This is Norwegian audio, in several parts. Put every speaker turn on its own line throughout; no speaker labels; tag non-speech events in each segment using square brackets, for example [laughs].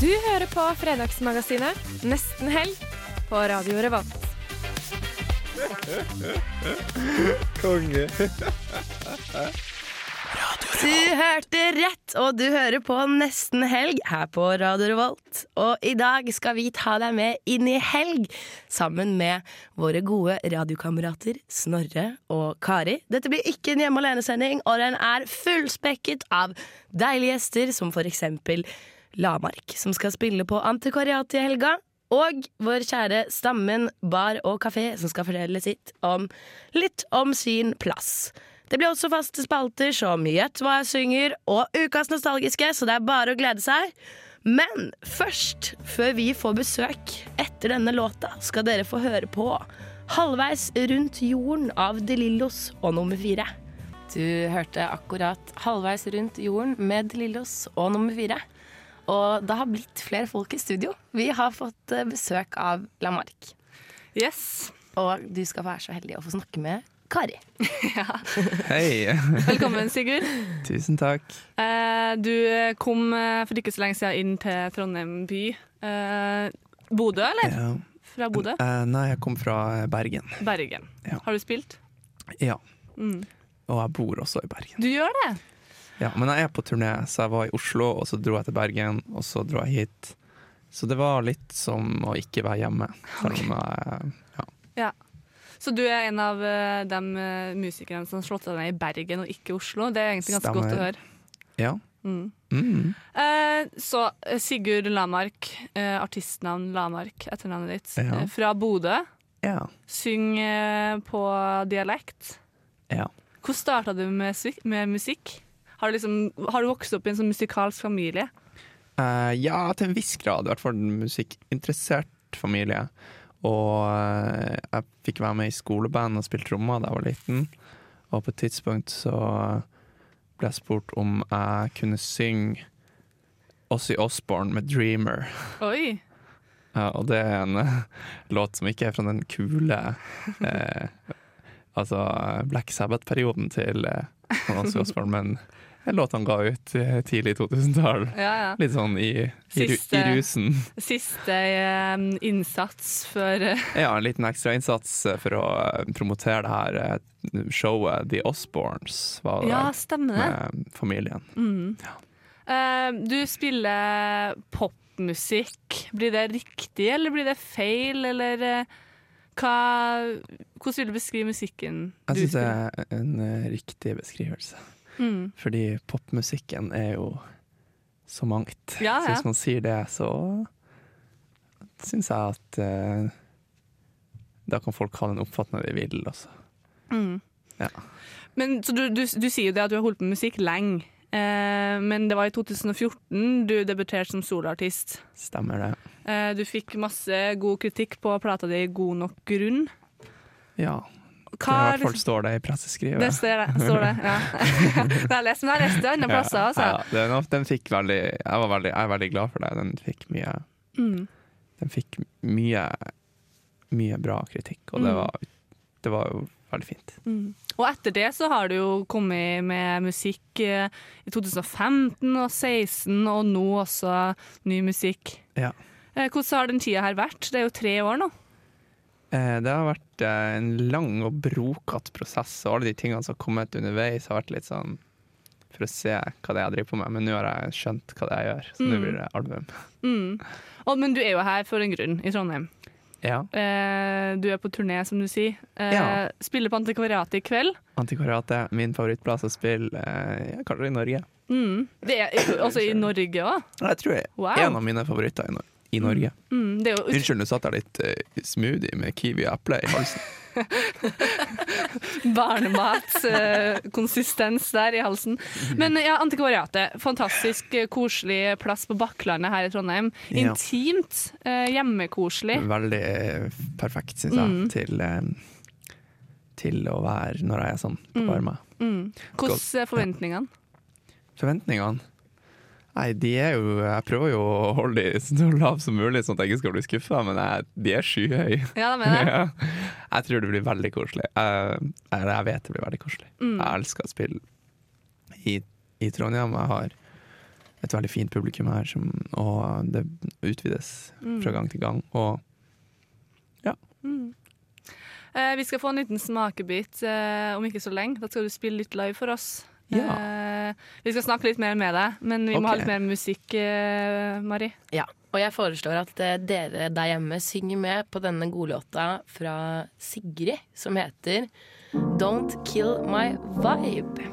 Du hører på Fredagsmagasinet Nesten helg på Radio Revolt.
Konge.
Du hørte rett, og du hører på Nesten helg her på Radio Revolt. Og i dag skal vi ta deg med inn i helg sammen med våre gode radiokamerater Snorre og Kari. Dette blir ikke en hjemme alene-sending, og den er fullspekket av deilige gjester som for eksempel Lamark, som skal spille på Antikvariatet i helga. Og vår kjære Stammen bar og kafé, som skal fortelle sitt om litt om sin plass. Det blir også faste spalter som Gjett hva jeg synger og Ukas nostalgiske, så det er bare å glede seg. Men først, før vi får besøk etter denne låta, skal dere få høre på Halvveis rundt jorden av De Lillos og nummer fire. Du hørte akkurat Halvveis rundt jorden med De Lillos og nummer fire. Og det har blitt flere folk i studio. Vi har fått eh, besøk av Lamark.
Yes.
Og du skal være så heldig å få snakke med Kari.
Hei. [laughs]
Velkommen, Sigurd.
Tusen takk.
[laughs] Eh, Du kom eh, for ikke så lenge siden inn til Trondheim by. Eh, Bodø, eller?
Ja.
Fra Bodø?
Eh, nei, jeg kom fra Bergen.
Bergen.
Ja.
Har du spilt?
Ja.
Mm.
Og jeg bor også i Bergen.
Du gjør det?
Ja, men jeg er på turné, så jeg var i Oslo, og så dro jeg til Bergen, og så dro jeg hit. Så det var litt som å ikke være hjemme. Selv om jeg, ja.
Ja. Så du er en av eh, de eh, musikerne som har slått seg ned i Bergen og ikke i Oslo. Det er egentlig ganske godt å
Stemmer.
høre.
ja.
Mm.
Mm.
Eh, Så eh, Sigurd Lamark, eh, artistnavn Lamark, etternavnet ditt,
Ja.
eh, fra Bodø.
Ja.
Synger eh, på dialekt.
ja.
Hvordan starta du med, svi- med musikk? Har du, liksom, har du vokst opp i en sånn musikalsk familie?
Eh, ja, til en viss grad. I hvert fall en musikkinteressert familie. Og eh, jeg fikk være med i skoleband og spille trommer da jeg var liten. Og på et tidspunkt så ble jeg spurt om jeg kunne synge Ossie Osborne med 'Dreamer'.
Oi!
Eh, og det er en eh, låt som ikke er fra den kule eh, Altså eh, Black Sabbath-perioden til uh, Ossie Osborne, men en låt han ga ut eh, tidlig i 2000-tall.
Ja, ja.
Litt sånn i, i, ru-
Siste-
i rusen.
Siste eh, innsats før eh,
Ja, en liten ekstrainnsats for å eh, promotere det her eh, showet The Osborns, var det
Ja,
vel,
stemmer det.
med familien.
Mm. Eh, Du spiller popmusikk. Blir det riktig, eller blir det feil, eller eh, hva, Hvordan vil du beskrive musikken du
Jeg syns det er en eh, riktig beskrivelse,
Mm.
fordi popmusikken er jo så mangt.
Ja,
Så
ja.
hvis man sier det, så syns jeg at eh, da kan folk ha den oppfatningen de vil, altså.
Mm.
Ja.
Men, så du, du, du sier jo det at du har holdt på med musikk lenge, eh, men det var i 2014 du debuterte som soloartist.
Stemmer det.
Eh, Du fikk masse god kritikk på plata di 'God nok grunn'.
Ja. Det
Hva
I
er
hvert fall
liksom-
står det i presseskrivet.
det står det. Står det ja. [laughs] det har jeg lest, men jeg har lest det andre plasser. Altså.
Ja, den, den fikk veldig jeg, var veldig jeg er veldig glad for det. Den fikk mye
Mm.
Den fikk mye Mye bra kritikk, og det
Mm.
var, det var jo veldig fint.
Mm. Og etter det så har du jo kommet med musikk eh, i 2015 og 2016, og nå også ny musikk.
Ja.
Eh, Hvordan har den tida her vært? Det er jo tre år nå.
Eh, Det har vært eh, en lang og brokete prosess, og alle de tingene som har kommet underveis, har vært litt sånn for å se hva det er jeg driver på med, men nå har jeg skjønt hva det er jeg gjør, så nå
Mm.
blir det album.
Mm. Og, men du er jo her for en grunn, i Trondheim.
Ja.
Eh, Du er på turné, som du sier. Eh,
Ja.
Spiller på Antikvariatet i kveld.
Antikvariatet, min favorittplass å spille, eh, ja, kanskje i Norge.
Mm. Det er også i Norge òg.
Jeg tror jeg
Wow.
en av mine favoritter i, Nor
i Norge.
Mm, det er jo ut-
Unnskyld, nå satt jeg litt eh, smoothie med kiwi og eple i halsen.
barnematkonsistens der i halsen. Men ja, Antikvariatet. Fantastisk eh, koselig plass på Bakklandet her i Trondheim.
Ja.
Intimt, eh, hjemmekoselig.
Veldig eh, perfekt, syns jeg, til, eh, til å være når jeg er sånn på varme.
Mm. Hvordan er forventningene?
Forventningene? Nei, de er jo Jeg prøver jo å holde de så [laughs] lave som mulig, sånn at jeg ikke skal bli skuffa, men jeg, de er skyhøye.
[laughs] Ja, da mener jeg.
Ja. Jeg tror det blir veldig koselig. Eh, Eller jeg vet det blir veldig koselig. Jeg elsker å spille i, i Trondheim. Jeg har et veldig fint publikum her, som, og det utvides fra gang til gang. Og
Eh, vi skal få en liten smakebit eh, om ikke så lenge. Da skal du spille litt live for oss. Eh, vi skal snakke litt mer med deg, men vi
Ok.
må ha litt mer musikk, eh, Mari.
Ja, og jeg foreslår at eh, dere der hjemme synger med på denne godlåta fra Sigrid, som heter Don't Kill My Vibe.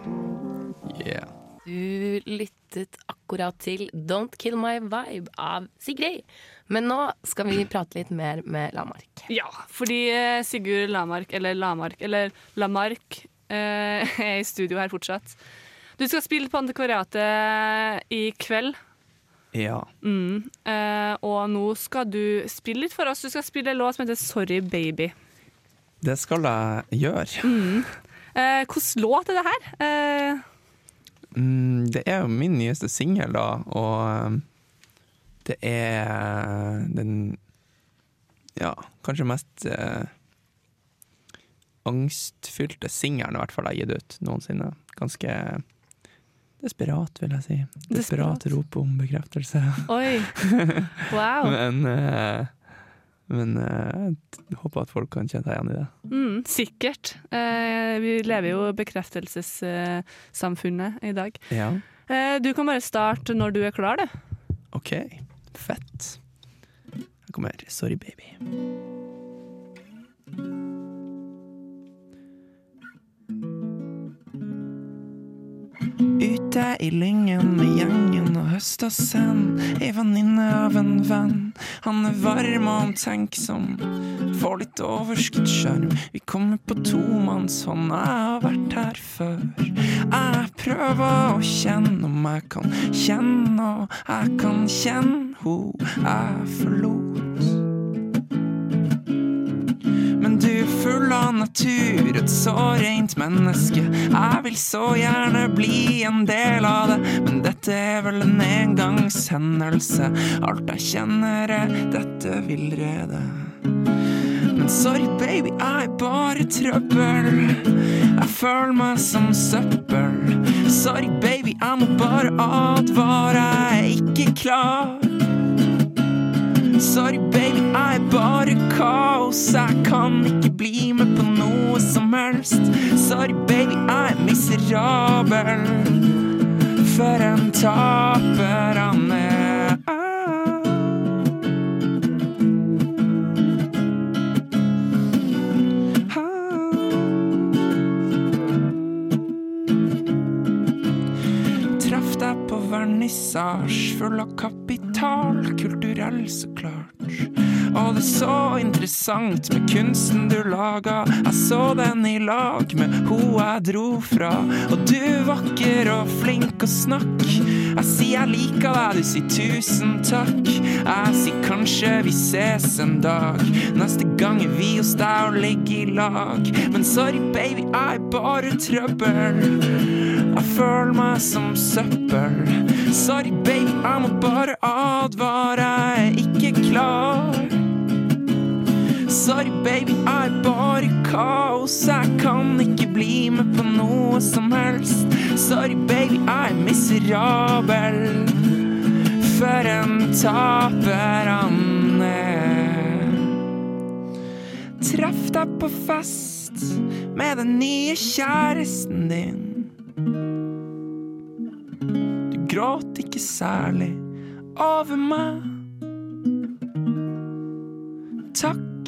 yeah.
Du lyttet akkurat til Don't Kill My Vibe av Sigrid. Men nå skal vi prate litt mer med Lamark.
Ja, fordi eh, Sigurd Lamark, eller Lamark, eller Lamark, eh, [laughs] er i studio her fortsatt. Du skal spille på Antikvariatet eh, i kveld,
Ja.
eh, og nå skal du spille litt for oss. Du skal spille en låt som heter Sorry Baby.
Det skal jeg gjøre.
Eh, Hvilken låt er det her? Eh,
Mm, det er jo min nyeste singel, da, og eh, det er uh, den Ja, kanskje mest eh, angstfylte singelen i hvert fall jeg har gitt ut noensinne. Ganske desperat, vil jeg si. Desperat,
Desperat.
rop om bekreftelse.
oi, wow.
[laughs] Men, eh, men eh, jeg håper at folk kan kjenne seg igjen i det.
Mm, sikkert. Eh, vi lever jo i bekreftelsessamfunnet i dag.
Ja.
Eh, du kan bare starte når du er klar, du.
OK, fett. Her kommer Sorry Baby. Ute i lyngen med gjengen og høsta sand. Ei venninne av en venn. Han er varm og omtenksom. Får litt overskuddssjarm. Vi kommer på tomannshånd. Jeg har vært her før. Jeg prøver å kjenne om jeg kan kjenne, og jeg kan kjenne ho jeg forlot. Men du er full av natur, et så rent menneske. Jeg vil så gjerne bli en del av det, men dette er vel en engangshendelse. Alt jeg kjenner er dette villrede. Men sorry, baby, jeg er bare trøbbel. Jeg føler meg som søppel. Sorry, baby, jeg må bare advare, jeg er ikke klar. Sorry, baby, jeg er bare kaos. Jeg kan ikke bli med på noe som helst. Sorry, baby, jeg er miserabel. For en taper han er. Ah, Traff deg på vernissasje full av kapital, kulturell så klart. Og det er så interessant med kunsten du laga. Jeg så den i lag med ho jeg dro fra. Og du er vakker og flink å snakke. Jeg sier jeg liker deg, du sier tusen takk. Jeg sier kanskje vi ses en dag. Neste gang er vi hos deg og ligger i lag. Men sorry, baby, jeg er bare trøbbel. Jeg føler meg som søppel. Sorry, baby, jeg må bare advare. Jeg er ikke klar. Sorry, baby, jeg er bare kaos. Jeg kan ikke bli med på noe som helst. Sorry, baby, jeg er miserabel. For en taper han er. Treff deg på fest med den nye kjæresten din. Du gråt ikke særlig over meg. Takk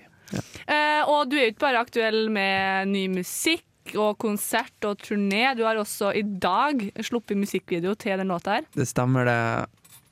Eh, og du er jo ikke bare aktuell med ny musikk og konsert og turné. Du har også i dag sluppet musikkvideo til den låta her.
Det stemmer det.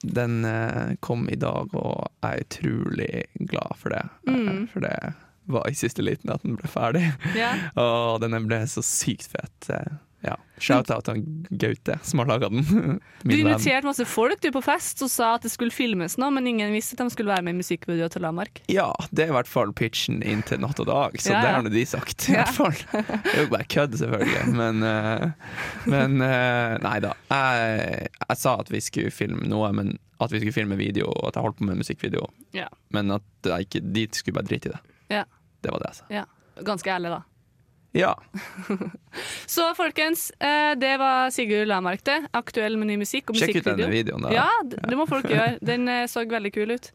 Den eh, kom i dag, og jeg er utrolig glad for det. Eh, For det var i siste liten at den ble ferdig.
Mm. Ja.
[laughs] Og den ble så sykt fet. Eh, Ja. Shout-out til Gaute, som har laga den. [laughs]
Du
Min venn.
inviterte masse folk du på fest og sa at det skulle filmes nå, men ingen visste at de skulle være med i musikkvideo til Lamark.
Ja, det er i hvert fall pitchen inn til Natt og dag, så
Ja, ja.
det har nå de sagt. I hvert fall. Det er jo bare kødd, selvfølgelig, men, eh, men eh, Nei da. Jeg, jeg sa at vi skulle filme noe, men at vi skulle filme video, og at jeg holdt på med musikkvideo.
Ja.
Men at jeg ikke, de skulle bare drite i det.
Ja.
Det var det jeg sa.
ja. Ganske ærlig, da.
Ja.
Så folkens, eh, det var Sigurd Lamark, det. Aktuell med ny musikk og
Sjekk ut denne
musikkvideo.
videoen, da.
Ja, d- det må folk gjøre. Den eh, så veldig kul ut.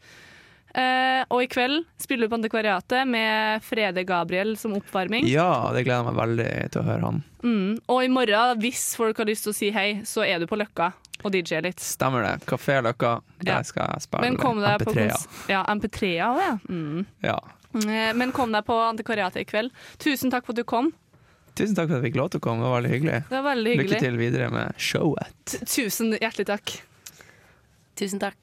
Eh, og i kveld spiller du på Antikvariatet med Frede Gabriel som oppvarming.
Ja, det gleder jeg meg veldig til å høre han.
Mm. Og i morgen, hvis folk har lyst til å si hei, så er du på Løkka og DJ litt.
Stemmer det. Kafé Løkka,
Ja.
der skal jeg spille
Men kom deg på
MP3-er.
kons- Ja, MP3-a også, ja. Mm.
Ja.
Eh, Men kom deg på Antikvariatet i kveld. Tusen takk for at du kom.
Tusen takk for at jeg fikk lov til å komme, det var veldig hyggelig.
Det var veldig hyggelig.
Lykke til videre med showet.
T- Tusen hjertelig takk.
Tusen takk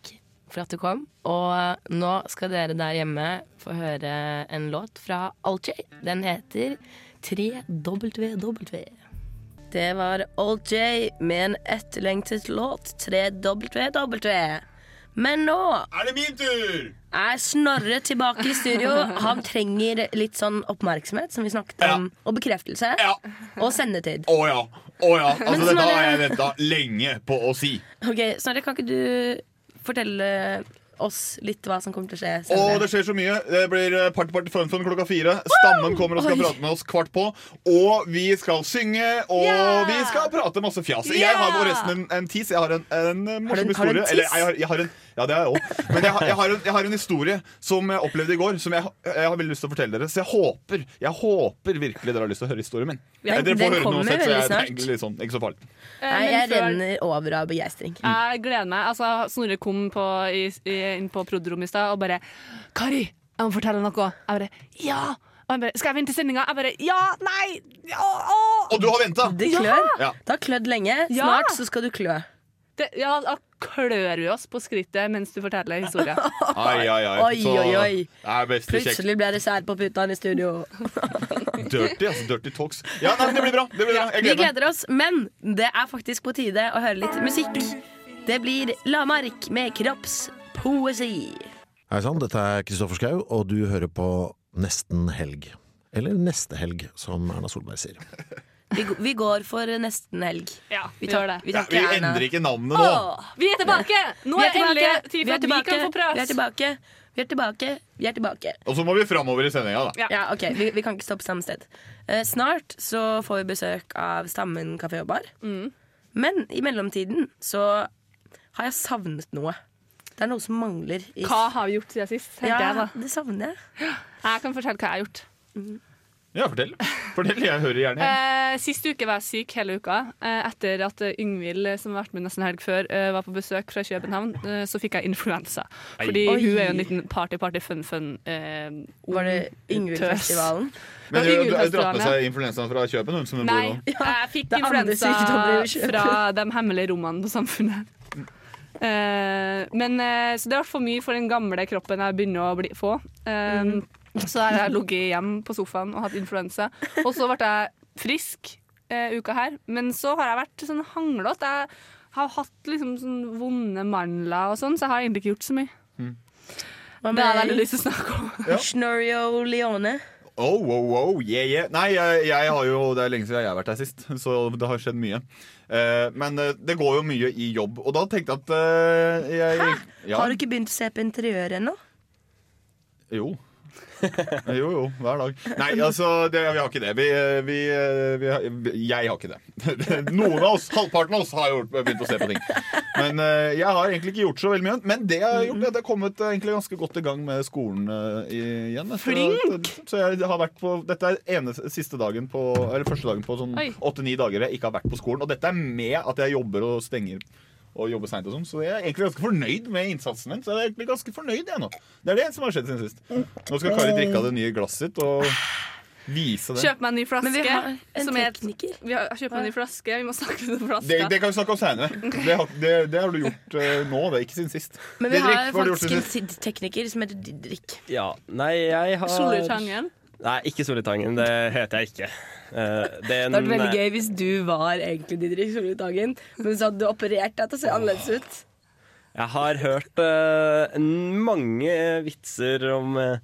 for at du kom. Og nå skal dere der hjemme få høre en låt fra Alchay. Den heter 3WW. Det var Old J med en etterlengtet låt, 3WW. Men nå Er det min tur! Er Snorre tilbake i studio? Han trenger litt sånn oppmerksomhet, som vi snakket om, og bekreftelse. Og sendetid.
Å ja. Å
[laughs]
ja.
Men
Altså, dette har
Snorre-
jeg venta lenge på å si.
Ok, Snorre, kan ikke du fortelle oss litt hva som kommer til å skje
Å,
senere?
det skjer så mye. Det blir eh, Party Party Fun Fun klokka fire. Stammen kommer og skal
Oi.
prate med oss kvart på. Og vi skal synge, og
Ja.
vi skal prate masse fjas.
Ja.
Jeg har forresten en, en tis. Jeg har en, en eh,
Har du-
morsom
har du en
historie.
tis?
Eller jeg har, jeg har en Ja, det har jeg òg. Men jeg har, jeg, har en, jeg har en historie som jeg opplevde i går, som jeg, jeg har veldig lyst til å fortelle dere. Så jeg håper jeg håper virkelig dere har lyst til å høre historien min. Eh,
Den-
dere
den
får høre den
kommer
uansett, så
veldig
jeg
snart.
tenker litt sånn, ikke så farlig.
Eh,
Nei,
men
jeg
før-
renner over av begeistring.
Jeg gleder meg. Altså, Snorre kom på, i, i, inn på prod.rommet i stad og bare 'Kari, jeg må fortelle noe.' Jeg bare 'Ja!' Og han bare 'Skal jeg vente til sendinga?' Jeg bare 'Ja! Nei! Ja, å!»
Og du har venta!
Det klør.
Ja.
Det har klødd lenge.
Ja.
Snart så skal du klø.
Det, ja, da klør vi oss på skrittet mens du forteller [laughs] historien.
Ai, ai, ai.
Oi, oi, oi.
Det er best i kjekk.
Plutselig blir det sær på putene i studio.
Dirty, altså. Dirty talks. Ja, nei, det blir bra. Det blir bra. Jeg
Vi
gleder meg.
gleder oss, men det er faktisk på tide å høre litt musikk. Det blir Lamark med kroppspoesi.
Hei sann, dette er Kristoffer Schau, og du hører på Nesten helg. Eller Neste helg, som Erna Solberg sier.
[laughs]
Vi, g- vi går for nesten helg.
Ja, vi
tar-
gjør det.
Vi
Ja,
tar
vi
ikke Erna.
endrer ikke navnet nå.
Vi er tilbake! Nå
Vi
er
er
det endelig
tilbake!
tid
Vi
for
er
at vi
tilbake!
kan få
Vi er
prate.
tilbake! Vi er tilbake! Vi er tilbake.
Og så må vi framover i sendinga, da.
Ja.
Ja, ok, vi, vi kan ikke stå på samme sted Eh, Snart så får vi besøk av Stammen kafé og bar Men i mellomtiden så har jeg savnet noe Det er noe som mangler i...
Hva har vi gjort siden sist? tenkte
Ja,
Jeg, da.
det savner jeg
jeg kan fortelle hva jeg har gjort.
Ja, fortell. Fortell, jeg hører gjerne.
Eh, sist uke var jeg syk hele uka. Eh, etter at eh, Yngvild, eh, som har vært med nesten helg før, eh, var på besøk fra København, eh, så fikk jeg influensa. Fordi
Oi.
hun er jo en liten party-party-fun-fun. Eh,
Var det
tøs.
Yngvild-festivalen?
Men hun hun
og
har dratt
Yngvild-festivalen,
med seg influensaen fra Kjøpen, hun som hun bor
Nei,
nå.
jeg fikk
det er andre
influensa
sykdommer vi kjøper.
fra de hemmelige rommene på samfunnet.
Mm.
Eh, men eh, Så det er for mye for den gamle kroppen jeg begynner å bli, få. Eh,
Mm.
Så har jeg ligget hjemme på sofaen og hatt influensa. Og så ble jeg frisk eh, uka her, men så har jeg vært sånn hanglete. Jeg har hatt liksom sånn vonde mandler og sånn, så jeg har egentlig ikke gjort så mye. Det har jeg
Hva med
veldig lyst til å snakke om.
Snorio Leone?
Oh, oh, oh, yeah, yeah. Nei, jeg, jeg har jo, det er lenge siden jeg har vært her sist, så det har skjedd mye. Eh, men eh, det går jo mye i jobb, og da tenkte jeg at eh, jeg, Hæ? Ja,
Har du ikke begynt å se på interiøret ennå?
jo. Eh, jo, jo, hver dag. Nei, altså, det, vi har ikke det. Vi, eh, vi, eh, vi har, jeg har ikke det. [laughs] Noen av oss, halvparten av oss, har gjort, begynt å se på ting. Men eh, jeg har egentlig ikke gjort så veldig mye. Men det jeg har gjort, er at jeg har kommet eh, egentlig ganske godt i gang med skolen eh, i- igjen. etter at- så jeg har vært på Dette er ene siste dagen på Eller første dagen på sånn
Oi.
åtte-ni dager jeg ikke har vært på skolen. Og dette er med at jeg jobber og stenger og jobber seint og sånn. Så jeg er egentlig ganske fornøyd med innsatsen min. Så jeg er egentlig ganske fornøyd jeg nå. Det er det som har skjedd siden sist. Nå skal Kari drikke av det nye glasset sitt og vise det.
Kjøp meg en ny
Men vi
flaske.
har en
som er et-
tekniker.
vi har, kjøp meg en ny flaske. Vi må snakke om den flaska.
Det, det kan vi snakke om seinere. Det, har- det, det har du gjort eh, nå, det er ikke siden sist.
Men vi
Didrik,
har
hva du gjort
faktisk
siden
en
sist?
tid- tekniker som heter Didrik.
Ja, nei, jeg har
Solurtangen.
Nei, ikke Solitangen. Det heter jeg ikke. Eh, det er
Det hadde vært
en-
veldig gøy hvis du var egentlig Didrik Solvitangen, men så hadde du operert deg til å se annerledes ut.
Jeg har hørt eh, mange vitser om eh,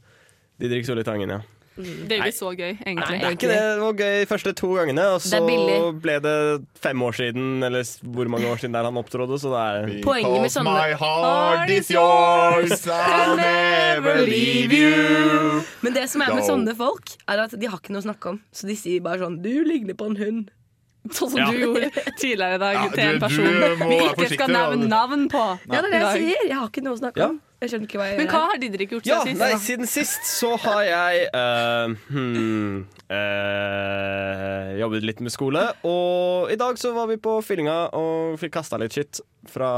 Didrik Solitangen, ja.
Det er jo ikke så gøy, egentlig.
Nei, det er ikke det. Det var gøy de første to gangene, og så
Det er billig.
ble det fem år siden, eller s- hvor mange år siden det er han opptrådde, så det er
Poenget med
Because
sånne-
my heart is yours, I'll never leave you.
Men det som er med
Go.
sånne folk, er at de har ikke noe å snakke om. Så de sier bare sånn 'du ligner på en hund'. [laughs]
Sånn som du gjorde tidligere i dag
Ja,
til en
du-
person
du må
vi
være
ikke
forsiktig,
skal
da.
nevne navn på.
Ja, det er
Nei.
det jeg sier. Jeg har ikke noe å snakke
Ja.
om. Jeg skjønner ikke hva jeg
Men hva
gjør. her.
har Didrik gjort
Ja,
siden
nei,
sist?
siden sist så har jeg eh, hmm, eh, jobbet litt med skole. Og i dag så var vi på fyllinga og fikk kasta litt skitt fra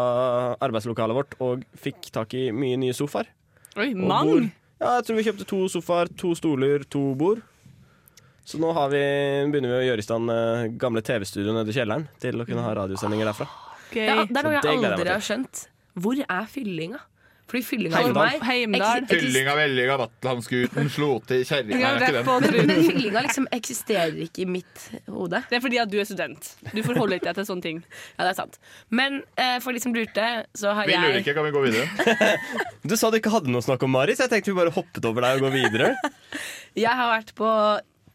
arbeidslokalet vårt. Og fikk tak i mye nye sofaer.
da? Oi,
Og
mang!
bord. Ja, jeg tror vi kjøpte to sofaer, to stoler, to bord. Så nå har vi, begynner vi å gjøre i stand eh, gamle TV-studioet nede i kjelleren til å kunne ha radiosendinger derfra.
Gøy.
Ja, det er
Så
noe
det
jeg
gleder jeg meg
aldri
til.
har skjønt. Hvor er fyllinga? Fordi fyllinga for
Heimdal.
meg
Heimdal.
eksis- eksis-
Fyllinga, vellinga, Vatlandskuten, slo til kjerringa.
Vi
Nei,
har
det er ikke den.
rett på
Men, men
trynet.
fyllinga [laughs] liksom eksisterer ikke i mitt hode.
Det er fordi at du er student. Du forholder ikke deg til sånne ting.
Ja, det er sant. Men eh, for de som lurte, så har
Vi lurer
jeg
ikke, kan vi gå videre?
[laughs] Du sa du ikke hadde noe å snakke om, Mari, så jeg tenkte vi bare hoppet over deg og går
[laughs]
videre.
Jeg har vært på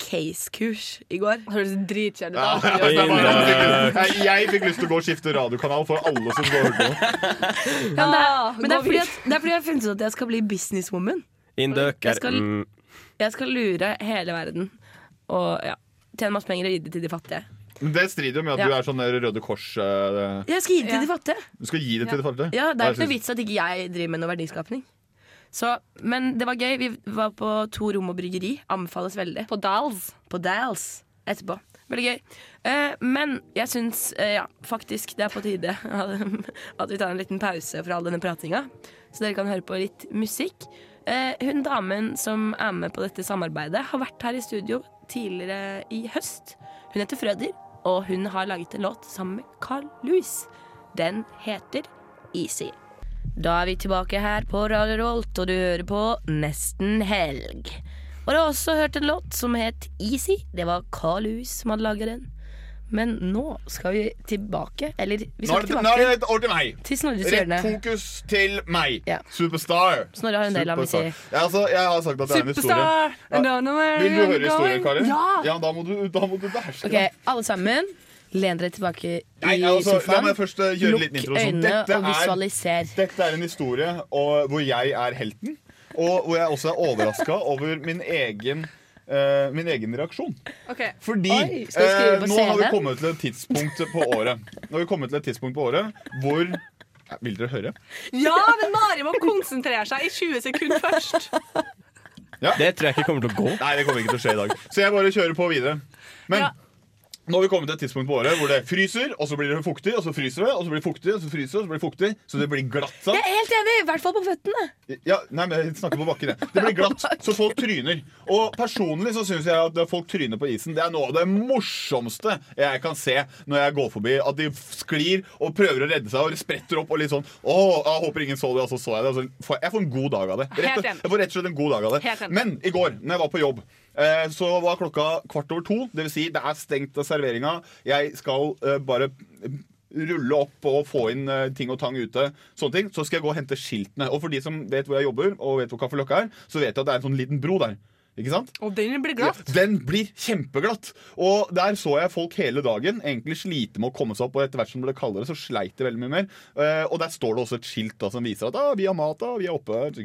case-kurs i går.
Det høres dritkjedelig
Ah, Ja,
ut.
det
da.
er bare at jeg fikk lyst- jeg fikk lyst til å gå og skifte radiokanal for alle som går og hører på.
Ja, men det,
Ah,
er, men
gå
det, er fordi
videre.
at, det er fordi jeg har funnet ut at jeg skal bli businesswoman.
Indøk
Jeg
er
skal-
mm,
Jeg skal lure hele verden og ja, tjene masse penger og gi det til de fattige.
Men Det strider jo med at du er sånn der Røde Kors eh,
Jeg skal gi det til
Ja.
de fattige!
Du skal gi det sånn- til de fattige?
Ja, Det er
Nei,
ikke noe vits at ikke jeg driver med noe verdiskapning. Så, men det var gøy. Vi var på To rom og bryggeri. Anbefales veldig.
På Dals.
På Dals etterpå. Veldig gøy. Eh, men jeg syns eh, ja, faktisk det er på tide [laughs] at vi tar en liten pause fra all denne pratinga, så dere kan høre på litt musikk. Eh, hun damen som er med på dette samarbeidet, har vært her i studio tidligere i høst. Hun heter Frøder, og hun har laget en låt sammen med Carl Louis. Den heter Easy. Da er vi tilbake her på Radio Rolt, og du hører på Nesten Helg. Og du har også hørt en låt som het Easy. Det var Carl Lewis som hadde laga den. Men nå skal vi tilbake, eller
Nå
vi skal
er det, nå er
tilbake
det over til meg.
til Snorres
Rett
hjørne.
fokus til meg.
Ja.
Superstar.
Snorre har en del av å si.
Superstar. Ja, altså, jeg har sagt at det er en historie.
Superstar! I don't know where
Vil du
I'm
høre historien,
going.
Kari?
Ja!
da må du, da må du beherske
Ok, alle sammen. Len dere tilbake i
Nei, altså, la
sofaen.
meg først eh, gjøre en
Lukk
liten intro. sånn.
øynene
Dette
og
er-
visualiser.
Dette er en historie og, hvor jeg er helten, og hvor jeg også er overraska over min egen eh, min egen reaksjon.
Ok.
Fordi
Oi, skal vi skrive
eh,
på
nå har vi
CV-en?
kommet til et tidspunkt på året Nå har vi kommet til et tidspunkt på året hvor Ja, Vil dere høre?
ja, men Mari må konsentrere seg i 20 sekunder først.
Det tror jeg ikke kommer til å gå.
Nei, det kommer ikke til å skje i dag. Så jeg bare kjører på videre. Men nå har vi kommet til et tidspunkt på året hvor det fryser, og så blir det fuktig, og så fryser det, og så blir det fuktig, og så fryser det, og så blir det fuktig, så det blir glatt. sant?
Jeg er helt enig, i hvert fall på føttene.
Ja, nei, men jeg snakker på bakken, jeg. Det blir glatt, så folk tryner. Og personlig så syns jeg at folk tryner på isen. Det er noe av det morsomste jeg kan se når jeg går forbi. At de sklir og prøver å redde seg og spretter opp og litt sånn Å, jeg håper ingen så det, og så så jeg det. Og så får jeg, jeg får en god dag av det. Rett
Helt
og,
enig.
jeg får rett og slett en god dag av det.
Helt enig.
Men i går, når jeg var på jobb eh, så var klokka kvart over to. Det vil si, det er stengt av serveringa. Jeg skal eh, bare rulle opp og få inn eh, ting og tang ute. Sånne ting. Så skal jeg gå og hente skiltene. Og for de som vet hvor jeg jobber, og vet hvor Kaffe Løkka er, så vet jeg at det er en sånn liten bro der. Ikke sant?
Og den blir glatt.
Ja, Den blir kjempeglatt. Og der så jeg folk hele dagen egentlig slite med å komme seg opp, og etter hvert som det ble kaldere, så sleit de veldig mye mer. Eh, og der står det også et skilt da, som viser at ah, 'vi har mat, da, vi er oppe'.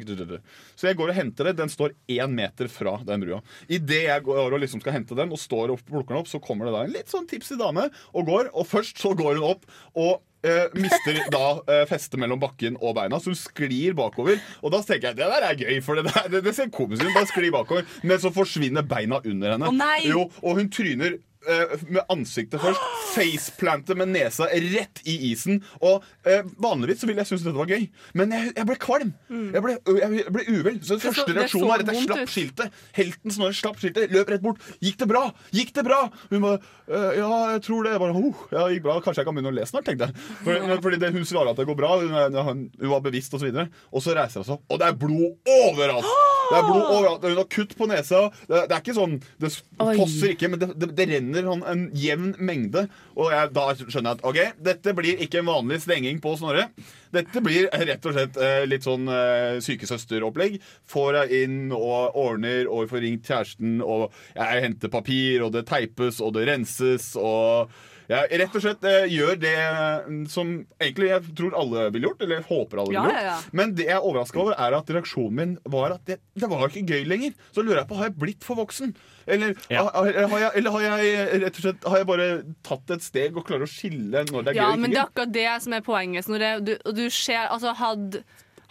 Så jeg går og henter det. Den står én meter fra den brua. Idet jeg går og liksom skal hente den, og står og plukker den opp, så kommer det da en litt sånn tipsy dame og går, og først så går hun opp og eh, mister da eh, festet mellom bakken og beina, så hun sklir bakover. Og da tenker jeg det der er gøy, for det, der, det, det ser komisk ut. Da sklir bakover, men så forsvinner beina under henne.
Å, nei!
Jo, og hun tryner eh, med ansiktet først. Faceplantet med nesa rett i isen. Og eh, Vanligvis så ville jeg synes dette var gøy, men jeg, jeg ble kvalm. Jeg ble, jeg ble uvel. Så den
Mm. Det så-
første
det
reaksjonen
så
var at jeg
vondt
slapp
ut.
skiltet. Helten Snorre slapp skiltet, løp rett bort. 'Gikk det bra?' Gikk det bra? Hun bare «Eh, 'Ja, jeg tror det.' Jeg bare, oh, ja, det gikk bra. Kanskje jeg kan begynne å le snart, tenkte jeg. For, men fordi det, Hun svarer at det går bra. Hun, er- hun, hun var bevisst, og så videre. Og så reiser hun seg opp, og det er blod overalt! Det er blod overalt. Hun har kutt på nesa. Det, det er ikke sånn Det s-
Oi.
fosser ikke, men det, det, det renner sånn en jevn mengde. Og jeg, da skjønner jeg at OK, dette blir ikke en vanlig slenging på Snorre. Dette blir rett og slett eh, litt sånn eh, sykesøsteropplegg. Får jeg inn og ordner, og får ringt kjæresten, og jeg henter papir, og det teipes, og det renses, og jeg rett og slett eh, gjør det eh, som egentlig jeg tror alle ville gjort, eller jeg håper alle
Ja,
ville gjort.
ja, ja.
Men det jeg er overraska over, er at reaksjonen min var at det, det var ikke gøy lenger. Så lurer jeg på har jeg blitt for voksen. Eller,
Ja.
har, eller, har, jeg, eller har, jeg, rett og slett, har jeg bare tatt et steg og klarer å skille når det er gøy
Ja,
og
men det
ikke
er
gøy?
akkurat det som er poenget. Snorre. du, og du ser, altså, hadde,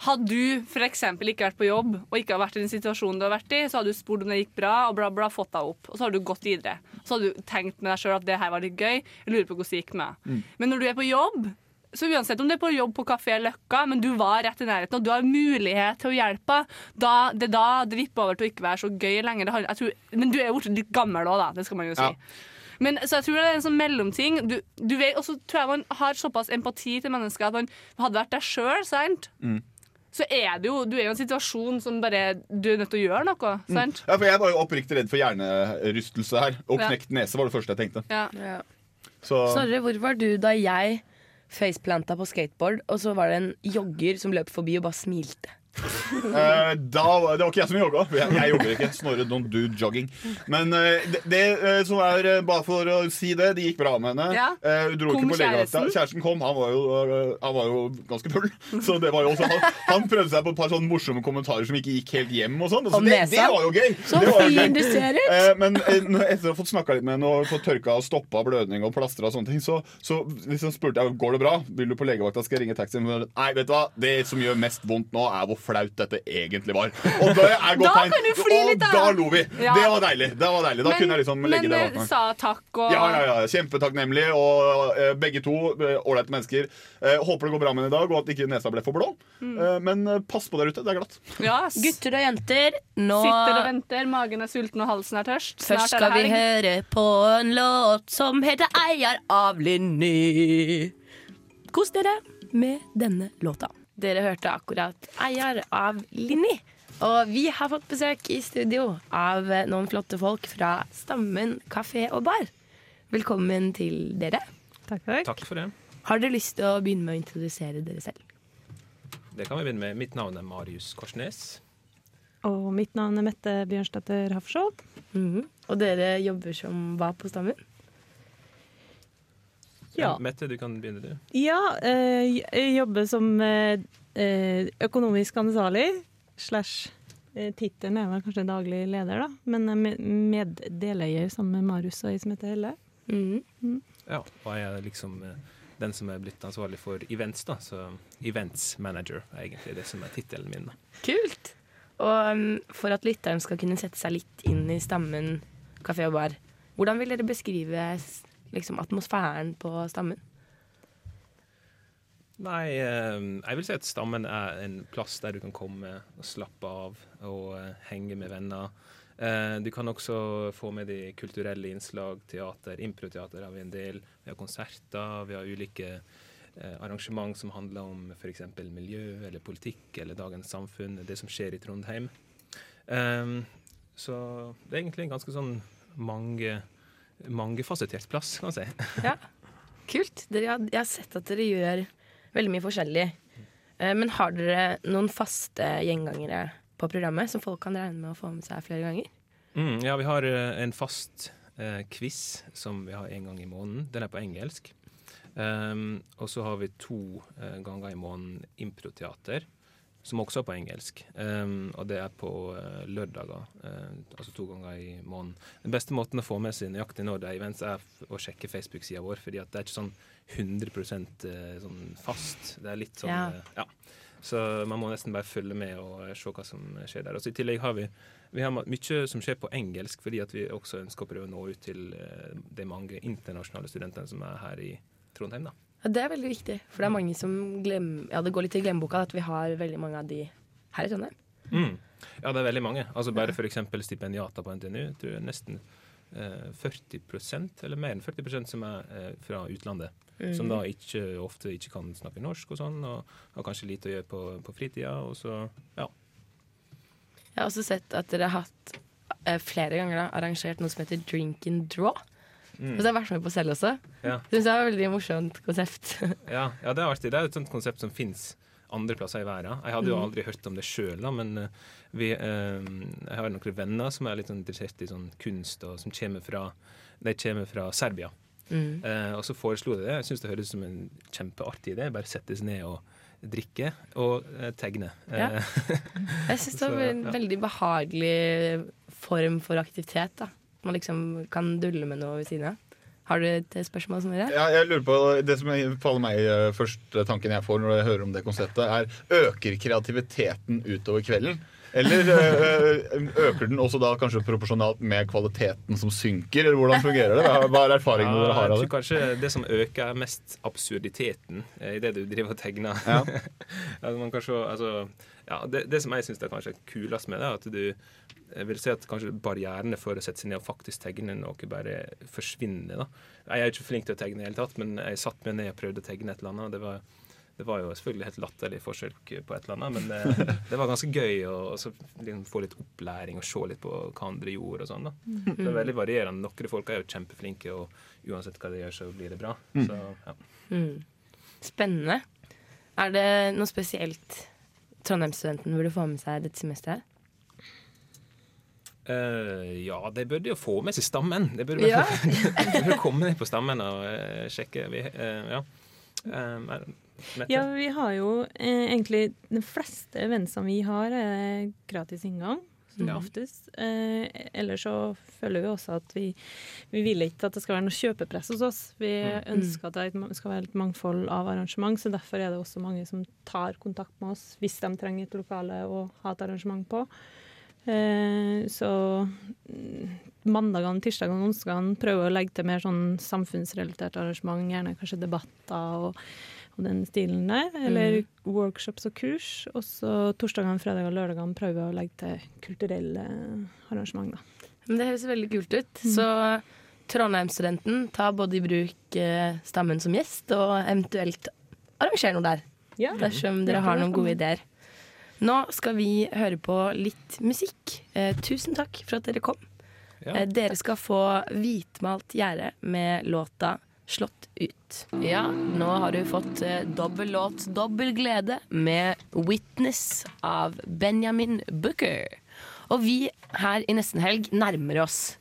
hadde du f.eks. ikke vært på jobb og ikke vært i den situasjonen du har vært i, så hadde du spurt om det gikk bra, og bla, bla, fått deg opp. Og så har du gått videre. Så hadde du tenkt med deg sjøl at det her var litt gøy. Jeg lurer på hvordan det gikk med meg.
Mm.
Men når du er på jobb, så uansett om du er på jobb på Kafé Løkka, men du var rett i nærheten, og du har mulighet til å hjelpe, da, det er da det vipper over til å ikke være så gøy lenger. Det handler- Jeg tror, men du er jo blitt litt gammel òg, da. Det skal man jo si.
Ja.
Men så jeg tror det er en sånn mellomting. Du, du vet, og så tror jeg man har såpass empati til mennesker at man hadde vært deg sjøl, sant?
Mm.
Så er det jo, du er jo i en situasjon som bare Du er nødt til å gjøre noe, sant?
Ja, for jeg var jo oppriktig redd for hjernerystelse her. Og
Ja.
knekt nese var det første jeg tenkte.
Ja.
Så,
Snorre, hvor var du da jeg faceplanta på skateboard, og så var det en jogger som løp forbi og bare smilte?
eh, da, det var ikke jeg som jogga. Jeg, jeg jogger ikke. Snorre, don't do jogging. Men eh, det, det eh, som er eh, Bare for å si det, det gikk bra med henne.
Ja.
Eh, hun dro
Kom
ikke på legevakta.
kjæresten?
Kjæresten kom. Han var, jo, eh, han var jo ganske full. Så det var jo også, han, han prøvde seg på et par sånne morsomme kommentarer som ikke gikk helt hjem. Og sånn. Så
Om
det,
nesa?
det var jo gøy.
Så
Det var jo gøy.
fin du ser ut!
Eh, men eh, når- etter å ha fått snakka litt med henne og fått tørka og stoppa blødning og plaster, og sånne ting så, så liksom spurte jeg går det bra. Vil du på legevakta, skal jeg ringe taxi. Men hun sa, Nei, vet du hva, det som gjør mest vondt nå, er hvor flaut dette egentlig var. Og det er godt
Da
tegn.
kan du fly
Og
litt, da.
da lo vi.
Ja.
Det var deilig. Det var deilig. Da kunne jeg liksom legge det
men, eh,
bak meg.
sa takk og
Ja, ja, ja. Kjempetakknemlig. Og eh, begge to eh, ålreite mennesker. Eh, håper det går bra med henne i dag, og at ikke nesa ble for blå.
Mm.
Eh, men eh, pass på der ute, det er glatt.
Ja, s-
Gutter og jenter, nå
Sitter og venter, magen er sulten og halsen er tørst.
Først
Snart
skal
er
vi
det helg.
høre på en låt som heter 'Eier av Linni'. Kos dere med denne låta. Dere hørte akkurat 'Eier av Linni'. Og vi har fått besøk i studio av eh, noen flotte folk fra Stammen kafé og bar. Velkommen til dere.
Takk, takk.
Takk for det.
Har dere lyst til å begynne med å introdusere dere selv?
Det kan vi begynne med. Mitt navn er Marius Korsnes.
Og mitt navn er Mette Bjørnsdatter Hafskjold.
Mhm. Og dere jobber som hva på Stammen?
Ja.
Mette, du kan begynne, du.
Ja, eh, jeg jobber som eh, eh, økonomisk ansvarlig slash eh, Tittelen er vel kanskje daglig leder, da, men jeg er med- meddeleier sammen med Marius og ei som heter Helle.
Mhm.
Ja, og jeg er liksom eh, den som er blitt ansvarlig for events, da. Så events manager er egentlig det som er tittelen min. da.
Kult! Og um, for at lytteren skal kunne sette seg litt inn i stammen kafé og bar, hvordan vil dere beskrive s- liksom, atmosfæren på stammen?
Nei, eh, jeg vil si at Stammen er en plass der du kan komme og slappe av og eh, henge med venner. Eh, Du kan også få med de kulturelle innslag, teater, improteater har vi en del. Vi har konserter, vi har ulike eh, arrangement som handler om f.eks. miljø eller politikk eller dagens samfunn, det som skjer i Trondheim. Eh, Så det er egentlig en ganske sånn mange mangefasettert plass, kan man si.
Ja, kult. Dere, har- jeg har sett at dere gjør veldig mye forskjellig. Eh, Men har dere noen faste gjengangere på programmet som folk kan regne med å få med seg flere ganger?
Mm, ja, vi har eh, en fast eh, quiz som vi har en gang i måneden. Den er på engelsk. Ehm, og så har vi to eh, ganger i måneden improteater, som også er på engelsk. Ehm, og det er på eh, lørdager, eh, altså to ganger i måneden. Den beste måten å få med seg nøyaktig når det er events, er f- å sjekke Facebook-sida vår, fordi at det er ikke sånn 100 eh, sånn fast. Det er litt sånn
Ja.
eh, ja. Så man må nesten bare følge med og eh, se hva som skjer der. Og så I tillegg har vi, vi har ma- mye som skjer på engelsk, fordi at vi også ønsker å prøve å nå ut til eh, de mange internasjonale studentene som er her i Trondheim. da.
Ja, det er veldig viktig, for det er mange som glemmer Ja, det går litt i glemmeboka at vi har veldig mange av de her i Trondheim.
Mm. Ja, det er veldig mange. Altså Bare f.eks. stipendiater på NTNU. Jeg tror det er nesten eh, 40 eller mer enn 40 som er eh, fra utlandet.
Mm.
Som da ikke, ofte ikke kan snakke norsk og sånn, og har kanskje lite å gjøre på, på fritida. Og så, ja.
Jeg har også sett at dere har hatt eh, flere ganger da, arrangert noe som heter Drink and Draw.
Mm.
Og så har jeg vært med på selv også.
Ja.
Det synes jeg var et veldig morsomt konsept. [laughs]
Ja, ja, det er artig. Det er et sånt konsept som fins andre plasser i verden. Jeg hadde jo
Mhm.
aldri hørt om det sjøl, men eh, vi, eh, jeg har noen venner som er litt sånn interessert i sånn kunst, og som kommer fra, de kommer fra Serbia.
Mm.
Mhm.
Eh, og så foreslo de det. Jeg syns det høres ut som en kjempeartig idé. Bare settes ned og drikke og eh, tegne.
Ja.
Eh,
Jeg syns det
Så,
var en
ja.
veldig behagelig form for aktivitet. da. Man liksom kan dulle med noe ved siden av. Har du et spørsmål som dere?
Ja, jeg lurer på, Det som faller meg eh, første tanken jeg får når jeg hører om det konseptet, er øker kreativiteten utover kvelden? Eller eh, øker den også da kanskje proporsjonalt med kvaliteten som synker? Eller hvordan fungerer det? Hva- Hva er erfaringene dere har av
Jeg
det?
tror kanskje det som øker, er mest absurditeten eh, i det du driver og tegner. [laughs]
Ja.
altså, man kan se, altså, ja, det, det som jeg syns er kanskje kulest med det, er at du jeg vil si at kanskje barrierene for å sette seg ned og faktisk tegne noe bare forsvinner. da. Jeg er ikke flink til å tegne i det hele tatt, men jeg satt meg ned og prøvde å tegne et eller annet. og det var det var jo selvfølgelig helt latterlig forsøk på et eller annet, men eh,
[laughs]
det var ganske gøy å og så liksom få litt opplæring og se litt på hva andre gjorde og sånn. da.
Mm.
Det er veldig varierende. Noen folk er jo kjempeflinke, og uansett hva de gjør, så blir det bra.
Mm.
Så, ja.
Mm. Spennende. Er det noe spesielt Trondheimsstudenten burde få med seg dette semesteret? her?
Eh, ja, de burde jo få med seg stammen. De burde, ja.
Ja.
de burde komme ned på stammen og eh, sjekke. Vi, eh, ja. Eh, er- Mette?
Ja, vi har jo eh, egentlig De fleste eventene vi har, er gratis inngang, som
Ja.
oftest. Eh, ellers så føler vi også at vi, vi vil ikke at det skal være noe kjøpepress hos oss. Vi
Mm.
Mm.
ønsker at det er et ma- skal være et mangfold av arrangement, så derfor er det også mange som tar kontakt med oss hvis de trenger et lokale å ha et arrangement på. Eh, så mm, mandagene, tirsdagene og onsdagene prøver å legge til mer sånn samfunnsrelatert arrangement, gjerne kanskje debatter og, og den stilen der.
Mm.
Eller workshops og kurs. Og så torsdagene, fredagene og lørdagene prøver jeg å legge til kulturelle arrangement, da.
Men det høres veldig kult ut. Så Trondheimsstudenten tar både i bruk eh, stammen som gjest, og eventuelt arrangerer noe der.
Ja.
Dersom
Ja,
dere har
det
noen
kan
gode
man.
ideer. Nå skal vi høre på litt musikk. Eh, tusen takk for at dere kom.
Ja.
Eh, dere skal få hvitmalt gjerde med låta 'Slått ut'. Ja, nå har du fått eh, dobbel låt, dobbel glede med 'Witness' av Benjamin Booker. Og vi her i nesten helg nærmer oss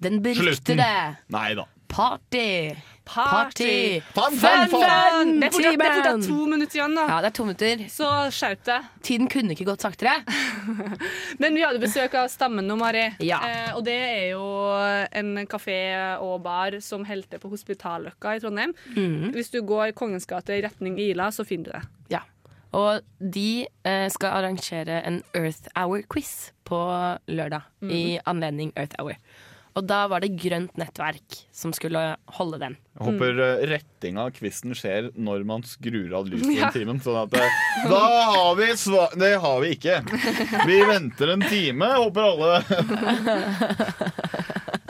den beryktede
Nei da.
Party!
Party!
Fun,
Fun, fun!
fun, fun!
Det er fortsatt- det er fortsatt
Band!
to minutter igjen, da.
Ja, det er to minutter.
Så skjerp deg.
Tiden kunne ikke gått saktere.
Men vi hadde besøk av Stammen nå, Mari.
Ja.
Eh, og det er jo en kafé og bar som holder til på Hospitalløkka i Trondheim.
Mhm.
Hvis du går Kongens gate i retning Ila, så finner du det.
Ja. Og de eh, skal arrangere en Earth Hour-quiz på lørdag i
Mm.
anledning Earth Hour. Og da var det Grønt nettverk som skulle holde den.
Jeg håper eh, rettinga av kvisten skjer når man skrur av lyset
Ja.
i timen. Sånn at eh, Da har vi svar Det har vi ikke. Vi venter en time, håper alle.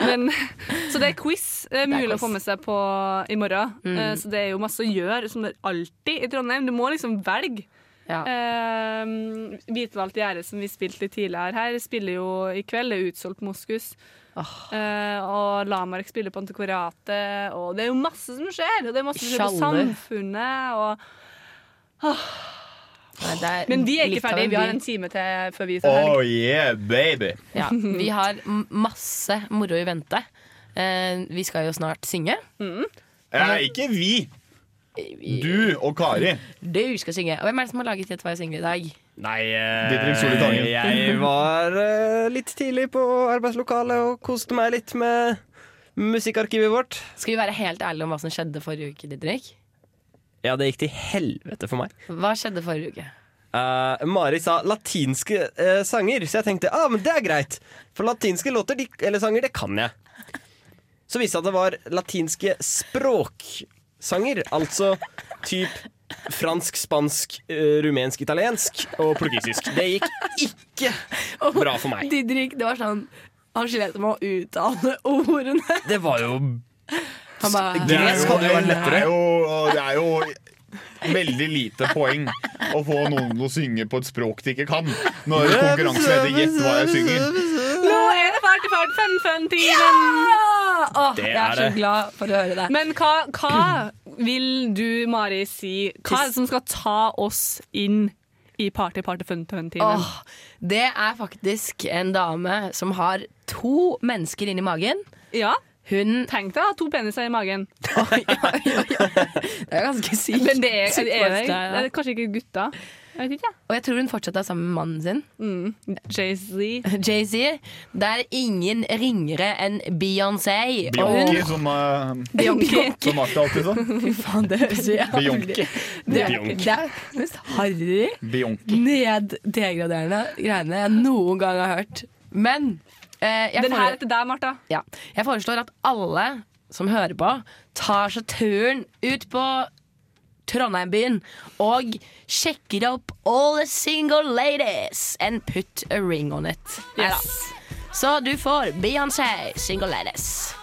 Men, [laughs] så det er quiz eh, mulig
quiz.
å få med seg på i morgen. Eh, så det er jo masse å gjøre, som det er alltid i Trondheim. Du må liksom velge.
Ja.
Eh, Hvitvalgt gjerde, som vi spilte litt tidligere her, spiller jo i kveld. Det er utsolgt Moskus. Eh, og Lamark spiller på Antikvariatet, og det er jo masse som skjer! Og det er masse som skjer på
Sjaller.
Samfunnet, og
Nei, det er
Men vi er
litt
ikke
av
ferdige. Vi har
by.
en time til før vi tar helg.
Oh yeah, baby. Eh,
Ja, vi har m- masse moro i vente. Eh, vi skal jo snart synge.
Eh, ikke vi. Du og Kari.
Du skal synge. Og hvem er det som har laget Gjett hva jeg synger i dag?
Nei, eh,
Didrik Solli Tangen.
jeg var eh, litt tidlig på arbeidslokalet og koste meg litt med musikkarkivet vårt.
Skal vi være helt ærlige om hva som skjedde forrige uke, Didrik?
Ja, det gikk til helvete for meg.
Hva skjedde forrige uke?
Eh, Mari sa latinske eh, sanger, så jeg tenkte ah, men det er greit. For latinske låter de, eller sanger, det kan jeg. Så viste det seg at det var latinske språksanger. Altså typ fransk, spansk, eh, rumensk, italiensk og portugisisk. Det gikk ikke bra for meg.
Didrik, det var sånn Han slet med å uttale ordene.
Det var jo
Han bare
Det er
Gresk
jo,
hadde jo vært
det
lettere.
er jo, det er jo veldig lite poeng å få noen til å synge på et språk de ikke kan. Når konkurransen heter 'Gjett hva jeg synger'.
Nå er det party, party, fun, fun timen!
Åh,
Det jeg er er så det.
glad for å høre det.
Men hva, hva vil du, Mari, si? Hva er det som skal ta oss inn i party, party, fun, fun-timen?
Åh, det er faktisk en dame som har to mennesker inni magen.
Ja.
Hun
Tenk deg å ha to peniser i magen.
Det er ganske [laughs] sykt.
Men det er, er, det- er, det-
Ja.
er det kanskje ikke gutta? Jeg vet ikke.
Og jeg tror hun fortsatt er sammen med mannen sin. [laughs]
Jay-Z.
Jay-Z. Det er ingen ringere enn Beyoncé. Og hun
Bjonki, som, eh,
Bjonki.
som Martha alltid sa.
[laughs] Fy faen, det høres jo jævlig-
Bjonki.
Det,
Bjonki.
det er mest harry,
Bjonki.
neddegraderende greiene jeg noen gang har hørt. Men eh, jeg,
Den her er til deg, Martha.
ja, jeg foreslår at alle som hører på, tar seg turen ut på Trondheimbyen og sjekker opp all the single ladies and put a ring on it. Neida.
Yes.
Så du får Beyoncé, single ladies.